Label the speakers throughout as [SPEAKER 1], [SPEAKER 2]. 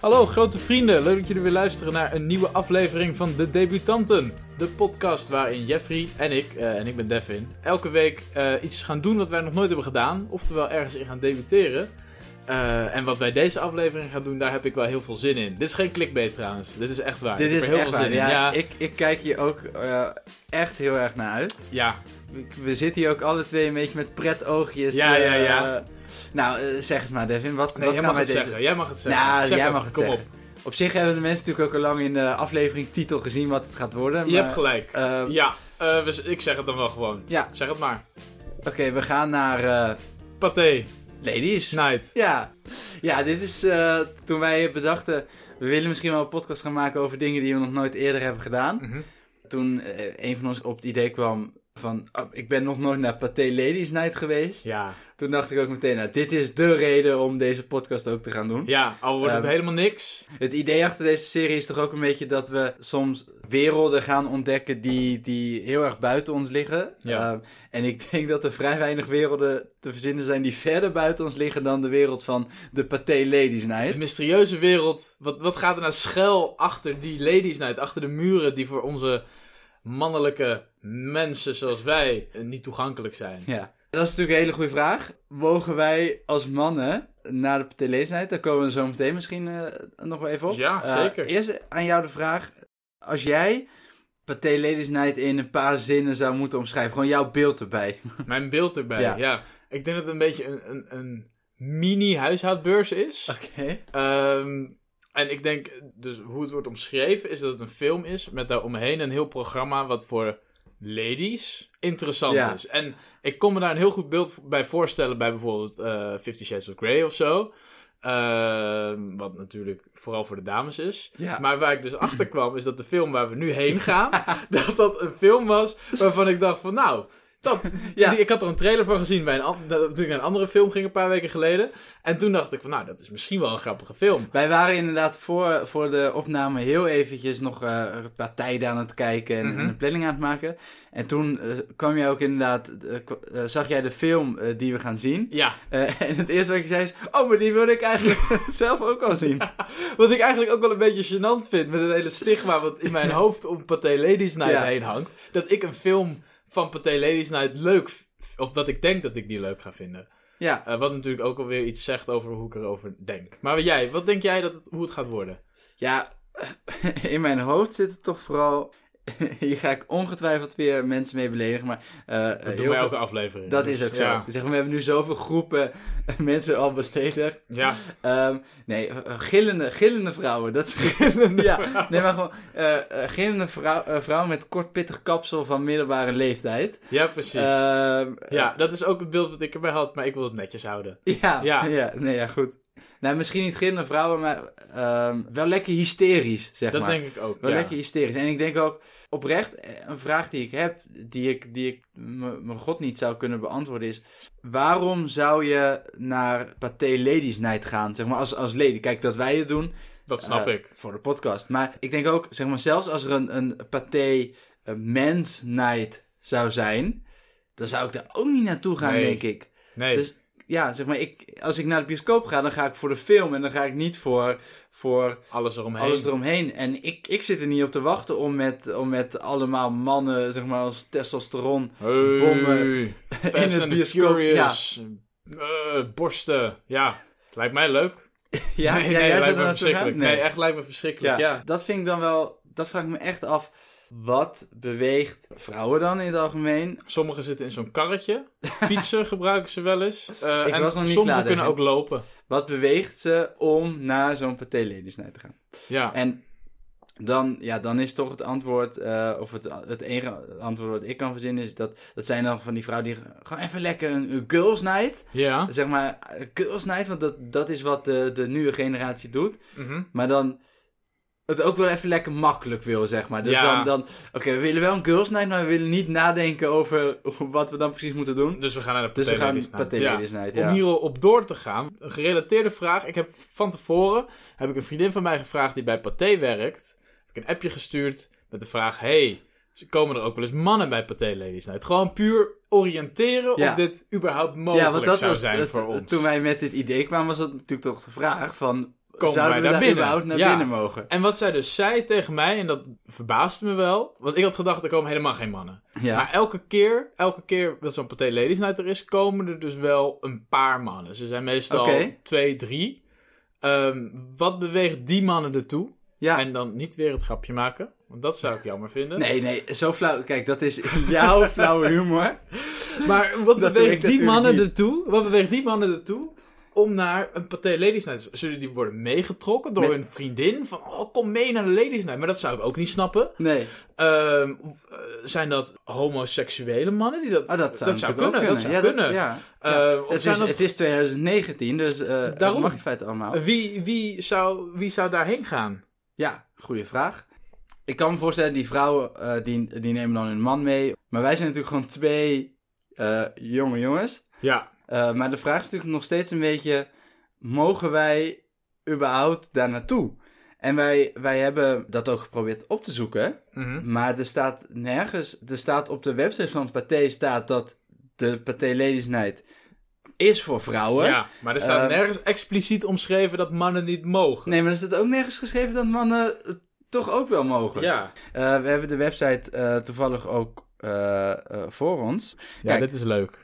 [SPEAKER 1] Hallo grote vrienden, leuk dat jullie weer luisteren naar een nieuwe aflevering van De Debutanten. De podcast waarin Jeffrey en ik, eh, en ik ben Devin, elke week eh, iets gaan doen wat wij nog nooit hebben gedaan. Oftewel ergens in gaan debuteren. Eh, en wat wij deze aflevering gaan doen, daar heb ik wel heel veel zin in. Dit is geen clickbait trouwens, dit is echt waar.
[SPEAKER 2] Dit
[SPEAKER 1] Ah, ik heb
[SPEAKER 2] is
[SPEAKER 1] er heel
[SPEAKER 2] echt
[SPEAKER 1] veel
[SPEAKER 2] waar.
[SPEAKER 1] zin
[SPEAKER 2] Ja,
[SPEAKER 1] in. Ja,
[SPEAKER 2] Ik, ik kijk hier ook eh, echt heel erg naar uit.
[SPEAKER 1] ja,
[SPEAKER 2] We, we zitten hier ook alle twee een beetje met pret oogjes.
[SPEAKER 1] Ja, ja, ja.
[SPEAKER 2] eh, nou, eh, zeg het maar, Devin. Wat,
[SPEAKER 1] Nee,
[SPEAKER 2] wat
[SPEAKER 1] jij mag
[SPEAKER 2] gaan wij
[SPEAKER 1] het
[SPEAKER 2] deze...
[SPEAKER 1] zeggen. Jij mag het zeggen.
[SPEAKER 2] Nou,
[SPEAKER 1] Zeg
[SPEAKER 2] jij mag het
[SPEAKER 1] Kom
[SPEAKER 2] zeggen. Op zich hebben de mensen natuurlijk ook al lang in de aflevering titel gezien wat het gaat worden.
[SPEAKER 1] op.
[SPEAKER 2] Maar,
[SPEAKER 1] Je hebt gelijk.
[SPEAKER 2] eh,
[SPEAKER 1] Ja, eh, we- ik zeg het dan wel gewoon.
[SPEAKER 2] Ja.
[SPEAKER 1] Zeg het maar.
[SPEAKER 2] Oké, we gaan naar eh,
[SPEAKER 1] Pathé,
[SPEAKER 2] ladies.
[SPEAKER 1] night.
[SPEAKER 2] Ja. ja, dit is eh, toen wij bedachten... We willen misschien wel een podcast gaan maken over dingen die we nog nooit eerder hebben gedaan.
[SPEAKER 1] Mhm.
[SPEAKER 2] toen eh, een van ons op het idee kwam van, oh, ik ben nog nooit naar Pathé Ladies Night geweest.
[SPEAKER 1] Ja.
[SPEAKER 2] Toen dacht ik ook meteen, nou, dit is de reden om deze podcast ook te gaan doen.
[SPEAKER 1] Ja, al wordt het
[SPEAKER 2] Ehm,
[SPEAKER 1] helemaal niks.
[SPEAKER 2] Het idee achter deze serie is toch ook een beetje dat we soms werelden gaan ontdekken die, die heel erg buiten ons liggen.
[SPEAKER 1] Ja.
[SPEAKER 2] Ehm, en ik denk dat er vrij weinig werelden te verzinnen zijn die verder buiten ons liggen dan de wereld van de Pathé Ladies
[SPEAKER 1] De
[SPEAKER 2] Night.
[SPEAKER 1] mysterieuze wereld. Wat, wat gaat er nou schuil achter die ladies night? Achter de muren die voor onze mannelijke mensen zoals wij eh, niet toegankelijk zijn.
[SPEAKER 2] Ja. Dat is natuurlijk een hele goede vraag. Mogen wij als mannen naar de Pathé Ladies Night? Daar komen we zo meteen misschien eh, nog wel even op.
[SPEAKER 1] Ja,
[SPEAKER 2] Eh,
[SPEAKER 1] zeker.
[SPEAKER 2] eerst aan jou de vraag. Als jij Pathé Ladies Night in een paar zinnen zou moeten omschrijven, gewoon jouw beeld erbij.
[SPEAKER 1] Mijn beeld erbij, ja.
[SPEAKER 2] Ja.
[SPEAKER 1] Ik denk dat het een beetje een, een, een mini-huishoudbeurs is.
[SPEAKER 2] Oké.
[SPEAKER 1] Ehm, en ik denk, dus hoe het wordt omschreven, is dat het een film is met daaromheen een heel programma wat voor ladies interessant
[SPEAKER 2] Ja.
[SPEAKER 1] is. En ik kon me daar een heel goed beeld bij voorstellen bij bijvoorbeeld eh Fifty Shades of Grey of zo. Ehm, wat natuurlijk vooral voor de dames is.
[SPEAKER 2] Ja.
[SPEAKER 1] Maar waar ik dus achter kwam, is dat de film waar we nu heen gaan, dat dat een film was waarvan ik dacht van nou. Dat,
[SPEAKER 2] Ja.
[SPEAKER 1] die- ik had er een trailer van gezien bij een, an- dat- toen ik naar een andere film ging een paar weken geleden. En toen dacht ik van, nou, dat is misschien wel een grappige film.
[SPEAKER 2] Wij waren inderdaad voor, voor de opname heel eventjes nog eh, een paar tijden aan het kijken en, en
[SPEAKER 1] Mhm.
[SPEAKER 2] een planning aan het maken. En toen eh, kwam jij ook inderdaad, eh, kwa- eh, zag jij de film eh, die we gaan zien.
[SPEAKER 1] Ja,
[SPEAKER 2] Eh, en het eerste wat je zei is, oh, maar die wilde ik eigenlijk zelf ook al zien.
[SPEAKER 1] wat ik eigenlijk ook wel een beetje gênant vind met het hele stigma wat in mijn hoofd om Pathé Ladies Night
[SPEAKER 2] Ja.
[SPEAKER 1] heen hangt. Dat ik een film van Pathé Ladies Night leuk, v- of dat ik denk dat ik die leuk ga vinden.
[SPEAKER 2] Ja,
[SPEAKER 1] Eh, wat natuurlijk ook alweer iets zegt over hoe ik erover denk. Maar jij, wat denk jij dat het, hoe het gaat worden?
[SPEAKER 2] ja in mijn hoofd zit het toch vooral... Hier ga ik ongetwijfeld weer mensen mee beledigen, maar... eh, heel
[SPEAKER 1] Dat doen wij
[SPEAKER 2] veel-
[SPEAKER 1] elke aflevering.
[SPEAKER 2] Dat
[SPEAKER 1] Dus,
[SPEAKER 2] is ook zo.
[SPEAKER 1] Ja,
[SPEAKER 2] Zeg, maar, we hebben nu zoveel groepen mensen al beledigd.
[SPEAKER 1] ja.
[SPEAKER 2] Ehm, nee, eh, gillende, gillende vrouwen. Dat is ja, nee, maar gewoon eh, eh, gillende vrouw, eh, vrouwen met kort pittig kapsel van middelbare leeftijd.
[SPEAKER 1] Ja, precies.
[SPEAKER 2] Ehm,
[SPEAKER 1] ja, dat is ook het beeld wat ik erbij had, maar ik wil het netjes houden.
[SPEAKER 2] ja,
[SPEAKER 1] Ja.
[SPEAKER 2] ja. nee, ja, goed. Nou, misschien niet gillende vrouwen, maar ehm, wel lekker hysterisch, zeg
[SPEAKER 1] dat
[SPEAKER 2] maar.
[SPEAKER 1] denk ik ook.
[SPEAKER 2] wel
[SPEAKER 1] ja.
[SPEAKER 2] lekker hysterisch. En ik denk ook oprecht, eh, een vraag die ik heb, die ik, die ik m- mijn god niet zou kunnen beantwoorden, is: waarom zou je naar Pathé Ladies Night gaan? Zeg maar als, als lady. Kijk, dat wij het doen,
[SPEAKER 1] Dat snap
[SPEAKER 2] Eh,
[SPEAKER 1] ik.
[SPEAKER 2] Voor de podcast. Maar ik denk ook, zeg maar, zelfs als er een, een paté eh, mens night zou zijn, dan zou ik daar ook niet naartoe gaan,
[SPEAKER 1] Nee.
[SPEAKER 2] denk ik.
[SPEAKER 1] Nee.
[SPEAKER 2] dus- Ja, zeg maar, ik, als ik naar de bioscoop ga, dan ga ik voor de film en dan ga ik niet voor, voor
[SPEAKER 1] Alles eromheen.
[SPEAKER 2] alles eromheen. En ik, ik zit er niet op te wachten om met, om met allemaal mannen, zeg maar, als testosteron
[SPEAKER 1] Hey,
[SPEAKER 2] bommen.
[SPEAKER 1] Fast
[SPEAKER 2] het
[SPEAKER 1] and the
[SPEAKER 2] bioscoop,
[SPEAKER 1] Furious. Eh, borsten. Ja, lijkt mij leuk.
[SPEAKER 2] Ja,
[SPEAKER 1] nee,
[SPEAKER 2] ja,
[SPEAKER 1] nee,
[SPEAKER 2] jij zou er
[SPEAKER 1] lijkt me
[SPEAKER 2] naartoe
[SPEAKER 1] verschrikkelijk.
[SPEAKER 2] gaan?
[SPEAKER 1] Nee. echt lijkt me verschrikkelijk. Ja.
[SPEAKER 2] dat vind ik dan wel, dat vraag ik me echt af. Wat beweegt vrouwen dan in het algemeen
[SPEAKER 1] Sommigen zitten in zo'n karretje. Fietsen gebruiken ze wel eens. Eh,
[SPEAKER 2] Ik
[SPEAKER 1] en
[SPEAKER 2] was nog niet
[SPEAKER 1] sommigen
[SPEAKER 2] klaar,
[SPEAKER 1] kunnen ook
[SPEAKER 2] David.
[SPEAKER 1] lopen.
[SPEAKER 2] Wat beweegt ze om naar zo'n Pathé Ladies Night te gaan?
[SPEAKER 1] Ja.
[SPEAKER 2] En dan, ja, dan is toch het antwoord, eh, of het, het enige antwoord wat ik kan verzinnen, is dat, dat zijn dan van die vrouwen die gewoon even lekker een, een girls night,
[SPEAKER 1] ja.
[SPEAKER 2] zeg maar een girls night, want dat, dat is wat de, de nieuwe generatie doet.
[SPEAKER 1] Mhm.
[SPEAKER 2] Maar dan het ook wel even lekker makkelijk wil, zeg maar. Dus
[SPEAKER 1] Ja.
[SPEAKER 2] dan, dan oké, we willen wel een girls night, maar we willen niet nadenken over wat we dan precies moeten doen.
[SPEAKER 1] Dus we gaan naar de
[SPEAKER 2] Dus we gaan
[SPEAKER 1] Ladies Night.
[SPEAKER 2] Pathé
[SPEAKER 1] Ja.
[SPEAKER 2] Ladies Night,
[SPEAKER 1] Om
[SPEAKER 2] ja.
[SPEAKER 1] hierop door te gaan, een gerelateerde vraag. Ik heb van tevoren heb ik een vriendin van mij gevraagd die bij Pathé werkt. Heb ik een appje gestuurd met de vraag: hey, komen er ook wel eens mannen bij Pathé Ladies Night? Gewoon puur oriënteren
[SPEAKER 2] Ja.
[SPEAKER 1] of dit überhaupt mogelijk zou zijn
[SPEAKER 2] het-
[SPEAKER 1] voor ons.
[SPEAKER 2] Toen wij met dit idee kwamen, was dat natuurlijk toch de vraag van...
[SPEAKER 1] komen wij
[SPEAKER 2] Zouden we
[SPEAKER 1] daar binnen.
[SPEAKER 2] überhaupt naar
[SPEAKER 1] Ja.
[SPEAKER 2] binnen mogen?
[SPEAKER 1] En wat zij dus zei tegen mij, en dat verbaasde me wel, want ik had gedacht, er komen helemaal geen mannen.
[SPEAKER 2] Ja.
[SPEAKER 1] Maar elke keer, elke keer dat zo'n Pathé Ladies Night er is, komen er dus wel een paar mannen. Ze zijn meestal
[SPEAKER 2] Oké.
[SPEAKER 1] twee, drie. Ehm, wat beweegt die mannen ertoe?
[SPEAKER 2] ja.
[SPEAKER 1] En dan niet weer het grapje maken, want dat zou ik jammer vinden.
[SPEAKER 2] Nee, nee, zo flauw. Kijk, dat is jouw flauwe humor.
[SPEAKER 1] Maar wat
[SPEAKER 2] Dat doe ik
[SPEAKER 1] beweegt die
[SPEAKER 2] natuurlijk
[SPEAKER 1] mannen
[SPEAKER 2] niet.
[SPEAKER 1] ertoe? Wat beweegt die mannen ertoe? Om naar een Pathé Ladies Night. te- Zullen die worden meegetrokken door
[SPEAKER 2] Met-
[SPEAKER 1] hun vriendin? Van, oh, kom mee naar de Ladies Night. Maar dat zou ik ook niet snappen.
[SPEAKER 2] Nee.
[SPEAKER 1] Ehm, eh, zijn dat homoseksuele mannen die dat...
[SPEAKER 2] Oh, dat zou,
[SPEAKER 1] Dat zou
[SPEAKER 2] natuurlijk ook
[SPEAKER 1] kunnen, dat zou
[SPEAKER 2] Ja,
[SPEAKER 1] kunnen.
[SPEAKER 2] ja.
[SPEAKER 1] Eh,
[SPEAKER 2] Ja.
[SPEAKER 1] of
[SPEAKER 2] het,
[SPEAKER 1] zijn
[SPEAKER 2] is,
[SPEAKER 1] dat-
[SPEAKER 2] het is 2019, dus eh
[SPEAKER 1] Daarom. Eh.
[SPEAKER 2] mag in feite allemaal.
[SPEAKER 1] Wie, wie, zou, wie zou daarheen gaan?
[SPEAKER 2] Ja, goede vraag. Ik kan me voorstellen, die vrouwen eh, die, die nemen dan hun man mee. Maar wij zijn natuurlijk gewoon twee eh, jonge jongens.
[SPEAKER 1] Ja.
[SPEAKER 2] Eh, maar de vraag is natuurlijk nog steeds een beetje: mogen wij überhaupt daar naartoe? En wij, wij hebben dat ook geprobeerd op te zoeken. Maar er staat nergens, er staat op de website van Pathé staat dat de Pathé Ladies Night is voor vrouwen.
[SPEAKER 1] Ja, maar er staat
[SPEAKER 2] Ehm,
[SPEAKER 1] nergens expliciet omschreven dat mannen niet mogen.
[SPEAKER 2] Nee, maar er staat ook nergens geschreven dat mannen het toch ook wel mogen.
[SPEAKER 1] Ja,
[SPEAKER 2] Eh, we hebben de website eh, toevallig ook eh, eh, voor ons.
[SPEAKER 1] ja
[SPEAKER 2] Kijk.
[SPEAKER 1] dit is leuk.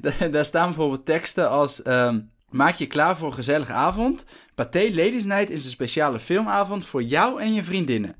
[SPEAKER 2] Da- Daar staan bijvoorbeeld teksten als... ehm, Maak je klaar voor een gezellige avond. Pathé Ladies Night is een speciale filmavond voor jou en je vriendinnen.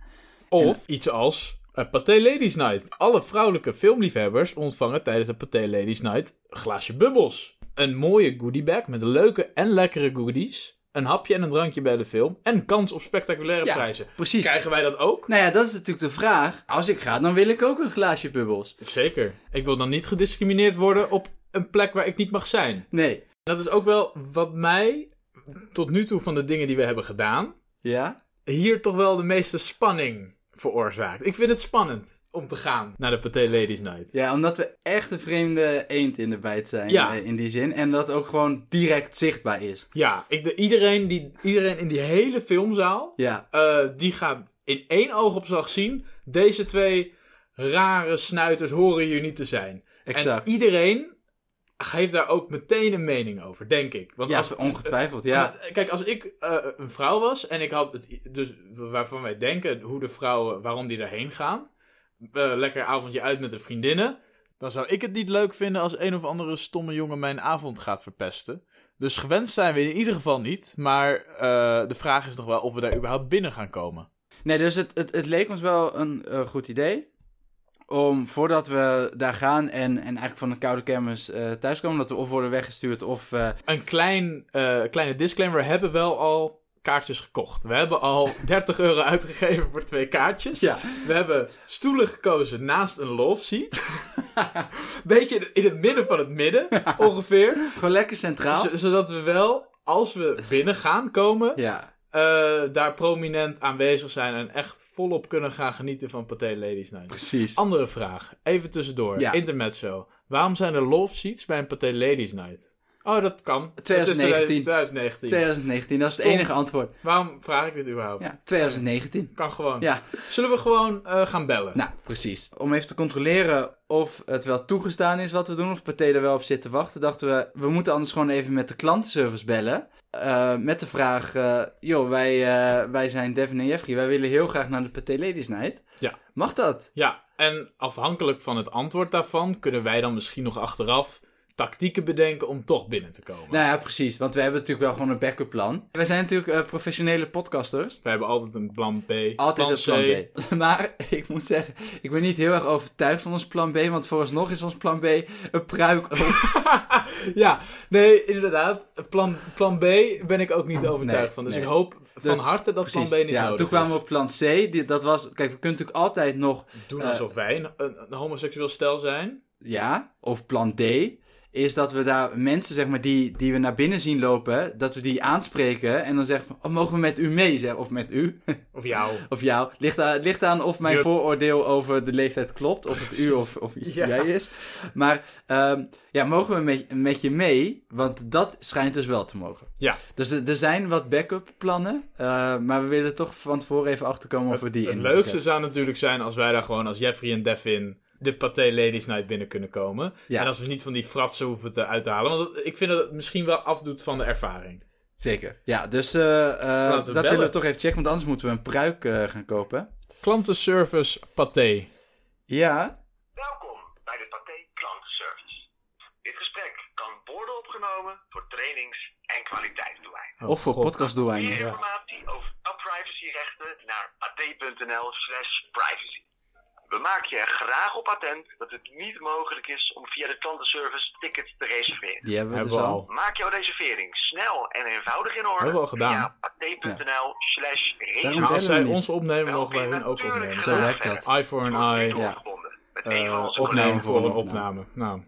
[SPEAKER 1] Of iets als eh, Pathé Ladies Night. Alle vrouwelijke filmliefhebbers ontvangen tijdens de Pathé Ladies Night een glaasje bubbels. Een mooie goodiebag met leuke en lekkere goodies. Een hapje en een drankje bij de film. En kans op spectaculaire
[SPEAKER 2] Ja.
[SPEAKER 1] prijzen.
[SPEAKER 2] Precies.
[SPEAKER 1] Krijgen wij dat ook?
[SPEAKER 2] Nou ja, dat is natuurlijk de vraag. Als ik ga, dan wil ik ook een glaasje bubbels.
[SPEAKER 1] Zeker. Ik wil dan niet gediscrimineerd worden op een plek waar ik niet mag zijn.
[SPEAKER 2] Nee.
[SPEAKER 1] Dat is ook wel wat mij tot nu toe van de dingen die we hebben gedaan,
[SPEAKER 2] Ja?
[SPEAKER 1] hier toch wel de meeste spanning veroorzaakt. Ik vind het spannend om te gaan naar de Pathé Ladies Night.
[SPEAKER 2] Ja, omdat we echt een vreemde eend in de bijt zijn
[SPEAKER 1] Ja.
[SPEAKER 2] eh, in die zin. En dat ook gewoon direct zichtbaar is.
[SPEAKER 1] Ja, ik, de, iedereen, die, iedereen in die hele filmzaal,
[SPEAKER 2] Ja.
[SPEAKER 1] eh, die gaat in één oogopslag zien, deze twee rare snuiters horen hier niet te zijn.
[SPEAKER 2] Exact.
[SPEAKER 1] En iedereen geeft daar ook meteen een mening over, denk ik. Want
[SPEAKER 2] Ja,
[SPEAKER 1] als,
[SPEAKER 2] ongetwijfeld, ja.
[SPEAKER 1] Maar, Kijk, als ik eh, een vrouw was en ik had het, i- dus waarvan wij denken hoe de vrouwen, waarom die daarheen gaan, eh, lekker avondje uit met de vriendinnen, dan zou ik het niet leuk vinden als een of andere stomme jongen mijn avond gaat verpesten. Dus gewend zijn we in ieder geval niet, maar eh, de vraag is nog wel of we daar überhaupt binnen gaan komen.
[SPEAKER 2] Nee, dus het, het, het leek ons wel een eh, goed idee. Om voordat we daar gaan en, en eigenlijk van de koude kermis eh thuiskomen, dat we of worden weggestuurd of. eh,
[SPEAKER 1] Een klein, eh, kleine disclaimer, we hebben wel al kaartjes gekocht. We hebben al 30 euro uitgegeven voor twee kaartjes. We hebben stoelen gekozen naast een love seat. Beetje in het midden van het midden, ongeveer.
[SPEAKER 2] Gewoon lekker centraal.
[SPEAKER 1] Z- zodat we wel, als we binnen gaan komen,
[SPEAKER 2] Ja.
[SPEAKER 1] eh, daar prominent aanwezig zijn en echt volop kunnen gaan genieten van Pathé Ladies Night.
[SPEAKER 2] Precies.
[SPEAKER 1] Andere vraag, even tussendoor,
[SPEAKER 2] Ja.
[SPEAKER 1] intermezzo. Waarom zijn er love seats bij een Pathé Ladies Night? Oh, dat kan. Het is
[SPEAKER 2] 2019.
[SPEAKER 1] 2019.
[SPEAKER 2] 2019, dat is het
[SPEAKER 1] Stom.
[SPEAKER 2] enige antwoord.
[SPEAKER 1] Waarom vraag ik dit überhaupt?
[SPEAKER 2] Ja, 2019.
[SPEAKER 1] Kan gewoon.
[SPEAKER 2] Ja.
[SPEAKER 1] Zullen we gewoon eh, gaan bellen?
[SPEAKER 2] Nou, precies. Om even te controleren of het wel toegestaan is wat we doen, of Pathé er wel op zit te wachten, dachten we, we moeten anders gewoon even met de klantenservice bellen. Eh, met de vraag, eh, joh, wij, eh, wij zijn Devin en Jeffrey, wij willen heel graag naar de Pathé Ladies Night.
[SPEAKER 1] Ja.
[SPEAKER 2] Mag dat?
[SPEAKER 1] Ja, en afhankelijk van het antwoord daarvan kunnen wij dan misschien nog achteraf tactieken bedenken om toch binnen te komen.
[SPEAKER 2] Nou ja, precies, want we hebben natuurlijk wel gewoon een backup plan. Wij zijn natuurlijk eh, professionele podcasters.
[SPEAKER 1] We hebben altijd een plan B.
[SPEAKER 2] Altijd het plan
[SPEAKER 1] C.
[SPEAKER 2] B. Maar ik moet zeggen, ik ben niet heel erg overtuigd van ons plan B, want vooralsnog is ons plan B een pruik op.
[SPEAKER 1] Ja, nee, inderdaad. Plan, plan B ben ik ook niet overtuigd
[SPEAKER 2] Nee,
[SPEAKER 1] van. Dus
[SPEAKER 2] nee.
[SPEAKER 1] ik hoop van
[SPEAKER 2] Dus-
[SPEAKER 1] harte dat
[SPEAKER 2] Precies.
[SPEAKER 1] plan B niet
[SPEAKER 2] ja,
[SPEAKER 1] nodig
[SPEAKER 2] toen kwamen we op plan C. Die- dat was, kijk, we kunnen natuurlijk altijd nog
[SPEAKER 1] is. Doen
[SPEAKER 2] eh,
[SPEAKER 1] alsof wij een, een, een homoseksueel stel zijn.
[SPEAKER 2] ja, of plan D, is dat we daar mensen, zeg maar, die, die we naar binnen zien lopen, dat we die aanspreken en dan zeggen van, oh, mogen we met u mee, zeg, of met u,
[SPEAKER 1] Of jou.
[SPEAKER 2] of jou. Ligt aan, ligt aan of mijn
[SPEAKER 1] Yup.
[SPEAKER 2] vooroordeel over de leeftijd klopt, of het u of, of
[SPEAKER 1] Ja.
[SPEAKER 2] jij is. Maar, ehm, ja, mogen we met, met je mee, want dat schijnt dus wel te mogen.
[SPEAKER 1] Ja.
[SPEAKER 2] Dus er, er zijn wat backup plannen, eh, maar we willen toch van tevoren even achterkomen of we die
[SPEAKER 1] Het
[SPEAKER 2] in
[SPEAKER 1] leukste zou natuurlijk zijn als wij daar gewoon als Jeffrey en Devin de Pathé Ladies Night binnen kunnen komen.
[SPEAKER 2] Ja.
[SPEAKER 1] En als we niet van die fratsen hoeven te uithalen. Want dat- ik vind dat het misschien wel afdoet van de ervaring.
[SPEAKER 2] Zeker. Ja, dus eh, eh,
[SPEAKER 1] we
[SPEAKER 2] dat
[SPEAKER 1] bellen.
[SPEAKER 2] willen we toch even checken, want anders moeten we een pruik eh, gaan kopen.
[SPEAKER 1] Klantenservice Pathé.
[SPEAKER 2] Ja,
[SPEAKER 3] Welkom bij de Pathé Klantenservice. Dit gesprek kan worden opgenomen voor trainings- en kwaliteitsdoeleinden.
[SPEAKER 1] Oh,
[SPEAKER 2] of voor
[SPEAKER 1] God.
[SPEAKER 3] Meer
[SPEAKER 2] podcastdoeleinden.
[SPEAKER 3] informatie over privacyrechten naar pathé.nl slash privacy. We maken je er graag op attent dat het niet mogelijk is om via de klantenservice tickets te reserveren.
[SPEAKER 2] Die hebben we
[SPEAKER 1] Hebben
[SPEAKER 2] dus
[SPEAKER 1] we
[SPEAKER 2] al.
[SPEAKER 1] al.
[SPEAKER 3] Maak jouw reservering snel en eenvoudig in orde
[SPEAKER 1] Hebben we al gedaan.
[SPEAKER 3] via pathé.nl slash
[SPEAKER 2] Daarom
[SPEAKER 1] Maar
[SPEAKER 3] reservering.
[SPEAKER 1] als zij
[SPEAKER 2] bellen we niet.
[SPEAKER 1] ons opnemen, mogen wij hun ook
[SPEAKER 3] Natuurlijk
[SPEAKER 1] opnemen.
[SPEAKER 2] Zo
[SPEAKER 3] graag
[SPEAKER 2] werkt dat.
[SPEAKER 3] verder.
[SPEAKER 1] Eye for an
[SPEAKER 3] Wordt nu
[SPEAKER 1] eye.
[SPEAKER 2] Ja.
[SPEAKER 3] doorverbonden met een van
[SPEAKER 1] eh,
[SPEAKER 3] onze
[SPEAKER 1] opnemen
[SPEAKER 3] collega's.
[SPEAKER 1] voor een opname. Nou,